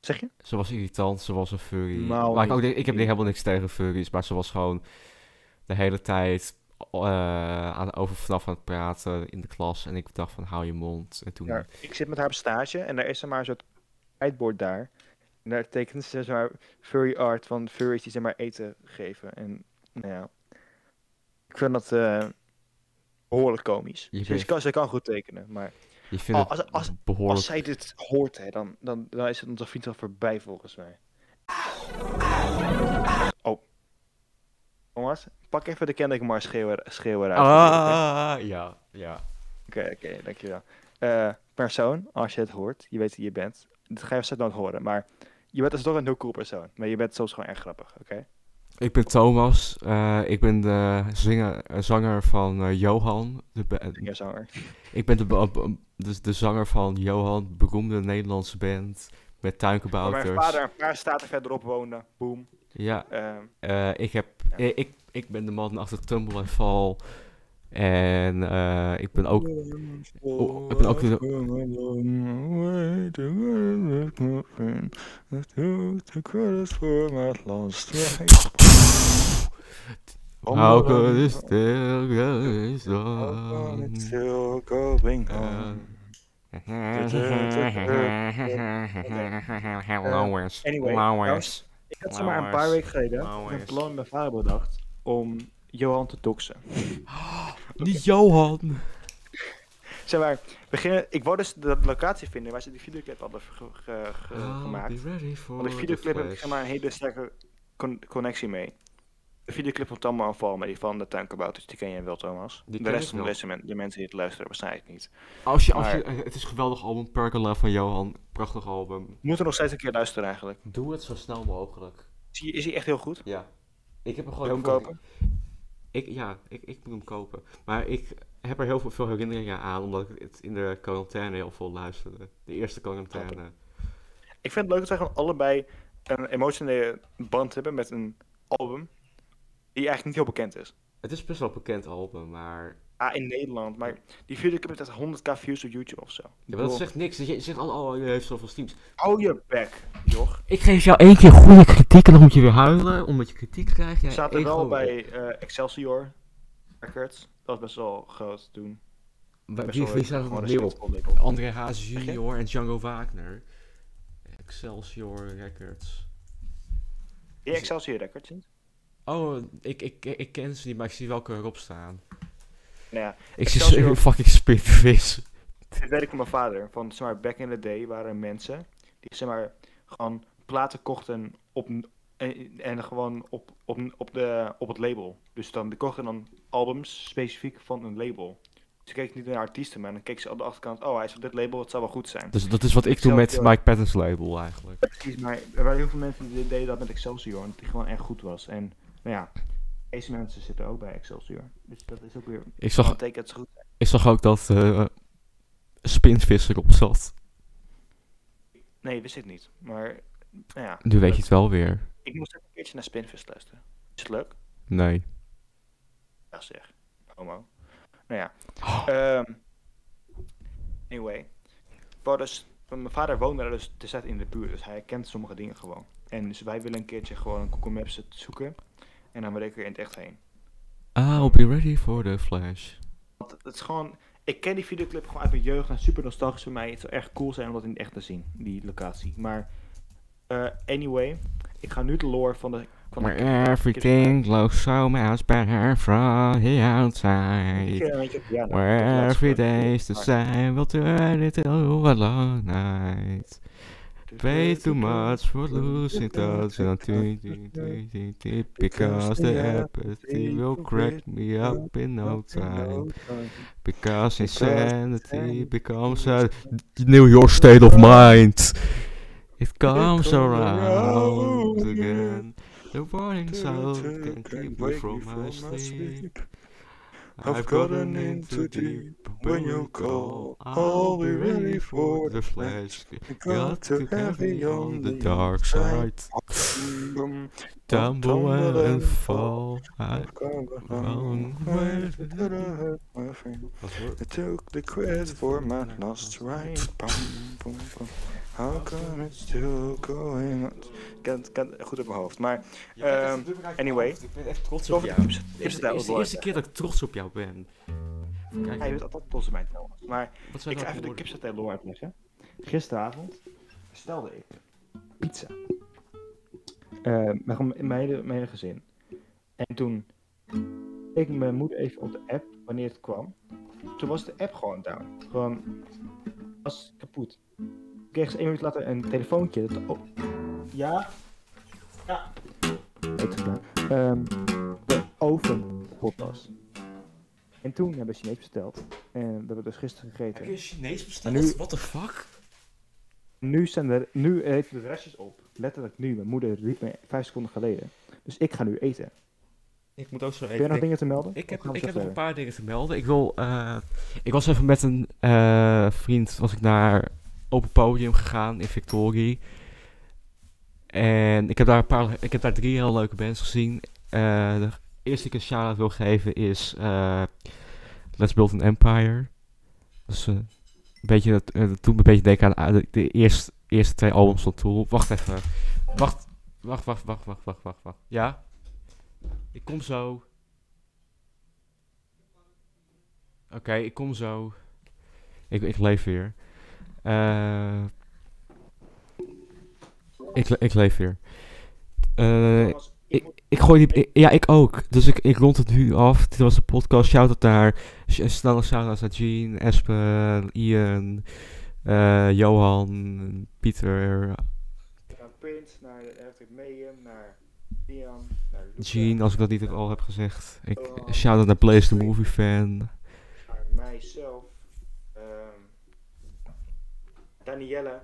[SPEAKER 1] zeg je?
[SPEAKER 2] Ze was irritant, ze was een furry.
[SPEAKER 1] Nou,
[SPEAKER 2] maar ik,
[SPEAKER 1] niet.
[SPEAKER 2] ook, denk- ik heb helemaal niks tegen furries, maar ze was gewoon de hele tijd eh, aan, over vanaf aan het praten in de klas. En ik dacht van, hou je mond. En toen...
[SPEAKER 1] Ja, ik zit met haar op stage en daar is er maar een soort whiteboard daar. En daar tekenen ze zeg maar furry art van furries die ze maar eten geven. En nou ja, ik vind dat eh behoorlijk komisch.
[SPEAKER 2] Je
[SPEAKER 1] Ze,
[SPEAKER 2] bent-
[SPEAKER 1] ze kan, ze kan goed tekenen, maar
[SPEAKER 2] Je vindt
[SPEAKER 1] Oh,
[SPEAKER 2] het
[SPEAKER 1] als- als-
[SPEAKER 2] behoorlijk...
[SPEAKER 1] als zij dit hoort, hè, dan, dan, dan is het onze vriend al voorbij volgens mij. Oh. Thomas, pak even de Kendrick Lamar schreeuwer, schreeuwer uit.
[SPEAKER 2] Ah, ja, ja.
[SPEAKER 1] Oké, oké, dankjewel. Eh, persoon, als je het hoort, je weet wie je bent. Dat ga je straks nooit horen, maar je bent dus toch een heel cool persoon. Maar je bent soms gewoon erg grappig, oké?
[SPEAKER 2] Ik ben Thomas. eh, ik ben de zinger, eh, zanger van eh, Johan. De ba-
[SPEAKER 1] Vingerzanger.
[SPEAKER 2] ik ben de ba- ba- dus de zanger van Johan, beroemde Nederlandse band met
[SPEAKER 1] Waar mijn
[SPEAKER 2] tuinkabouters.
[SPEAKER 1] vader een paar staten verderop woonde. Boom.
[SPEAKER 2] Ja,
[SPEAKER 1] Ehm,
[SPEAKER 2] eh, ik, heb,
[SPEAKER 1] Ja.
[SPEAKER 2] eh, ik, ik ben de man achter Tumble en Fall. En eh, ik ben ook Oh, ik ben ook Hauke is stil, is dan. Lowers.
[SPEAKER 1] Eh, anyway,
[SPEAKER 2] Lowers.
[SPEAKER 1] Ik had zomaar een paar weken geleden een plan met mijn vader bedacht om Johan te doxen.
[SPEAKER 2] Niet Johan.
[SPEAKER 1] Zeg maar, beginnen, ik wou dus de locatie vinden waar ze die videoclip hadden ge- ge- ge-
[SPEAKER 2] Oh,
[SPEAKER 1] gemaakt. Want de videoclip heb ik zeg maar een hele sterke con- connectie mee. De videoclip van Tammo aanval, maar die van de tuinkabouters, die ken jij wel, Thomas.
[SPEAKER 2] Die
[SPEAKER 1] de
[SPEAKER 2] ken
[SPEAKER 1] rest
[SPEAKER 2] ik
[SPEAKER 1] van de,
[SPEAKER 2] wel.
[SPEAKER 1] mensen- de mensen die het luisteren waarschijnlijk niet.
[SPEAKER 2] Als je, als je, eh, het is een geweldig album, Pergola van Johan. Prachtig album.
[SPEAKER 1] We moeten nog steeds een keer luisteren eigenlijk.
[SPEAKER 2] Doe het zo snel mogelijk.
[SPEAKER 1] Is die, is die echt heel goed?
[SPEAKER 2] Ja. Ik heb er gewoon
[SPEAKER 1] Wil je hem
[SPEAKER 2] heel veel-
[SPEAKER 1] kopen?
[SPEAKER 2] Ik, ja, ik, ik moet hem kopen. Maar ik heb er heel veel, veel herinneringen aan, omdat ik het in de quarantaine heel veel luisterde. De eerste quarantaine.
[SPEAKER 1] Ik vind het leuk dat wij gewoon allebei een emotionele band hebben met een album die eigenlijk niet heel bekend is.
[SPEAKER 2] Het is best wel een bekend album, maar...
[SPEAKER 1] Ah, in Nederland, maar die videoclip heeft echt 100k views op YouTube of zo.
[SPEAKER 2] Ja, maar dat zegt niks. Je je zegt al, oh, je heeft zoveel streams.
[SPEAKER 1] Hou je bek, joch.
[SPEAKER 2] Ik geef jou één keer goede kritiek en dan moet je weer huilen, omdat je kritiek krijgt. Jij
[SPEAKER 1] Staat er
[SPEAKER 2] ego-
[SPEAKER 1] wel bij eh, Excelsior Records. Dat was best wel groot toen.
[SPEAKER 2] Bij-
[SPEAKER 1] Best
[SPEAKER 2] Wie,
[SPEAKER 1] wel
[SPEAKER 2] wie
[SPEAKER 1] een-
[SPEAKER 2] staat er nog
[SPEAKER 1] gewoon
[SPEAKER 2] meer
[SPEAKER 1] een
[SPEAKER 2] op?
[SPEAKER 1] succesvol label.
[SPEAKER 2] André Haas junior en Django Wagner. Excelsior Records.
[SPEAKER 1] Die Excelsior Records niet?
[SPEAKER 2] Oh, ik, ik, ik ken ze niet, maar ik zie welke erop staan.
[SPEAKER 1] Nou ja,
[SPEAKER 2] Ik zie
[SPEAKER 1] Excelsior.
[SPEAKER 2] zo'n fucking spitvis.
[SPEAKER 1] dit weet ik van mijn vader. Van, zeg maar, back in the day waren er mensen die, zeg maar, gewoon platen kochten op, en, en gewoon op, op, op, de, op het label. Dus dan, die kochten dan albums specifiek van een label. Ze keken niet naar artiesten, maar dan keken ze op de achterkant, oh, hij is op dit label, het zou wel goed zijn.
[SPEAKER 2] Dus dat is wat ik doe met
[SPEAKER 1] Excelsior.
[SPEAKER 2] Mike Patton's label eigenlijk.
[SPEAKER 1] Precies, maar er waren heel veel mensen die deden dat met Excelsior, omdat die gewoon echt goed was. En, nou ja, deze mensen zitten ook bij Excelsior. Dus dat is ook weer
[SPEAKER 2] Ik
[SPEAKER 1] een
[SPEAKER 2] zag,
[SPEAKER 1] teken dat ze goed zijn.
[SPEAKER 2] ik zag ook dat eh Spinvis erop zat.
[SPEAKER 1] Nee, wist ik niet. Maar, nou ja.
[SPEAKER 2] Nu weet je het wel weer.
[SPEAKER 1] Ik moest even een keertje naar Spinvis luisteren. Is het leuk?
[SPEAKER 2] Nee.
[SPEAKER 1] Ja zeg. Homo. Nou ja.
[SPEAKER 2] Oh.
[SPEAKER 1] Ehm anyway. Wou dus- want mijn vader woonde daar dus destijds in de buurt. Dus hij kent sommige dingen gewoon. En dus wij willen een keertje gewoon een Google Maps het zoeken. En dan wil ik er in het echt heen.
[SPEAKER 2] Ah, I'll be ready for the flash.
[SPEAKER 1] Want het is gewoon... Ik ken die videoclip gewoon uit mijn jeugd. En super nostalgisch voor mij. Het zou echt cool zijn om dat in het echt te zien. Die locatie. Maar... eh, anyway. Ik ga nu de lore van de... Van de
[SPEAKER 2] Where everything looks so much better from the
[SPEAKER 1] Ik,
[SPEAKER 2] outside.
[SPEAKER 1] eh, ik heb- ja, nou, ik heb
[SPEAKER 2] Where
[SPEAKER 1] laatst
[SPEAKER 2] every
[SPEAKER 1] gewoon-
[SPEAKER 2] day is the
[SPEAKER 1] Maar-
[SPEAKER 2] same, will turn it into a long night. Way too much for losing touch and I'm because the apathy will crack me up in no time. Because Um, insanity becomes a New York state of mind. It comes around again. The warning sound can keep me from my sleep. I've gotten in too deep when you call. I'll be ready for the flash. Got to heavy on the dark side. Tumble and fall. I wrong way.
[SPEAKER 3] I took the quiz for my last ride. Bum, bum, bum. How come it's still going on?
[SPEAKER 1] Ik kan het- kan het goed op mijn hoofd. Maar
[SPEAKER 2] Ja,
[SPEAKER 1] Ehm,
[SPEAKER 2] dat is-
[SPEAKER 1] anyway.
[SPEAKER 2] Ik ben echt trots
[SPEAKER 1] Toch
[SPEAKER 2] op
[SPEAKER 1] is
[SPEAKER 2] jou.
[SPEAKER 1] het
[SPEAKER 2] Het is
[SPEAKER 1] daar
[SPEAKER 2] de eerste keer dat ik trots op jou ben. Even kijken,
[SPEAKER 1] Hij weet altijd trots op mij trouwens. Maar
[SPEAKER 2] wat zijn
[SPEAKER 1] ik ga
[SPEAKER 2] dat
[SPEAKER 1] even de
[SPEAKER 2] woorden?
[SPEAKER 1] kipsatel uitleggen. Gisteravond bestelde ik pizza. Eh, met gewoon mijn hele, mijn hele gezin. En toen keek mijn moeder even op de app wanneer het kwam. Toen was de app gewoon down. Gewoon was kapot. Toen kreeg ze één minuut later een telefoontje. Dat, oh, ja? Ja. Heet het nou. Ehm, de oven kapot was. En toen hebben we Chinees besteld. En dat hebben we dus gisteren gegeten.
[SPEAKER 2] Heb je Chinees
[SPEAKER 1] Maar nu-
[SPEAKER 2] besteld? What the fuck?
[SPEAKER 1] Nu zijn er, nu eten de restjes op. Letterlijk nu. Mijn moeder riep me vijf seconden geleden. Dus ik ga nu eten.
[SPEAKER 2] Ik moet ook zo
[SPEAKER 4] Heb jij
[SPEAKER 2] even...
[SPEAKER 4] nog
[SPEAKER 2] denken.
[SPEAKER 4] dingen te melden?
[SPEAKER 2] Ik
[SPEAKER 4] Of
[SPEAKER 2] heb,
[SPEAKER 4] gaan we
[SPEAKER 2] ik
[SPEAKER 4] zo
[SPEAKER 2] heb nog een
[SPEAKER 4] verder?
[SPEAKER 2] paar dingen te melden. Ik wil... eh, ik was even met een eh, vriend... Was ik naar Open Podium gegaan in Victorie. En ik heb daar, een paar, ik heb daar drie heel leuke bands gezien. Eh, de eerste die ik een shout-out wil geven is... eh, Let's Build an Empire. Dat is eh, een beetje... het- eh, dat doet me een beetje denken aan eh, de, de eerste, eerste twee albums van Tool. Wacht even. Wacht, wacht, wacht, wacht, wacht, wacht, wacht. wacht. Ja? Ik kom zo. Oké, ik kom zo. Ik, ik leef weer. Eh, ik, le- ik leef weer. Eh, ik, ik gooi die... ik- ja, ik ook. Dus ik, ik rond het nu af. Dit was de podcast. Shout-out naar... sh- eh, Snelle shout-outs naar Jean, Espen, Ian, eh, Johan, Pieter,
[SPEAKER 1] Naar Pint, naar Electric Mayhem, naar Ian, naar Luca,
[SPEAKER 2] Jean, als ik dat niet al heb gezegd. Ik,
[SPEAKER 1] Johan.
[SPEAKER 2] shout-out naar Blaze the Movie Fan.
[SPEAKER 1] naar mijzelf, ehm, Danielle,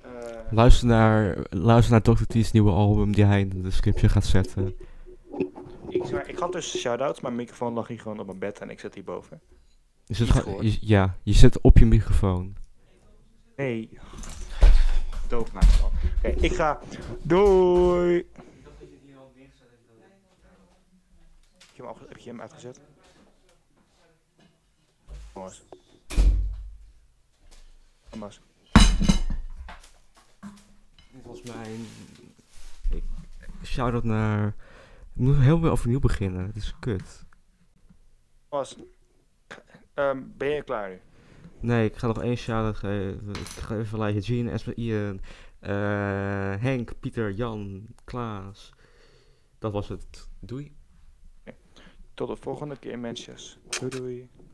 [SPEAKER 1] eh,
[SPEAKER 2] Luister naar, luister naar Dr. T's nieuwe album die hij in de description gaat zetten.
[SPEAKER 1] Ik, zeg maar, ik had dus shout-outs, maar mijn microfoon lag hier gewoon op mijn bed en ik zit hierboven.
[SPEAKER 2] Is het
[SPEAKER 1] Niet
[SPEAKER 2] gewoon,
[SPEAKER 1] gehoord.
[SPEAKER 2] je- ja, je zet op je microfoon.
[SPEAKER 1] Nee. Doofnaam man. Oké, ik ga. Doei! Heb je hem, afge- heb je hem uitgezet? Thomas. Thomas.
[SPEAKER 2] Dit was mijn... Ik, shout-out naar... Ik moet heel weer overnieuw beginnen. Dit is kut.
[SPEAKER 1] Thomas. Ehm, ben je klaar nu?
[SPEAKER 2] Nee, ik ga nog één shout-out geven. Ik ga even lijken. Jean, Esme, Ian, eh, Henk, Pieter, Jan, Klaas. Dat was het. Doei.
[SPEAKER 1] Tot de volgende keer, mensen. Doei doei.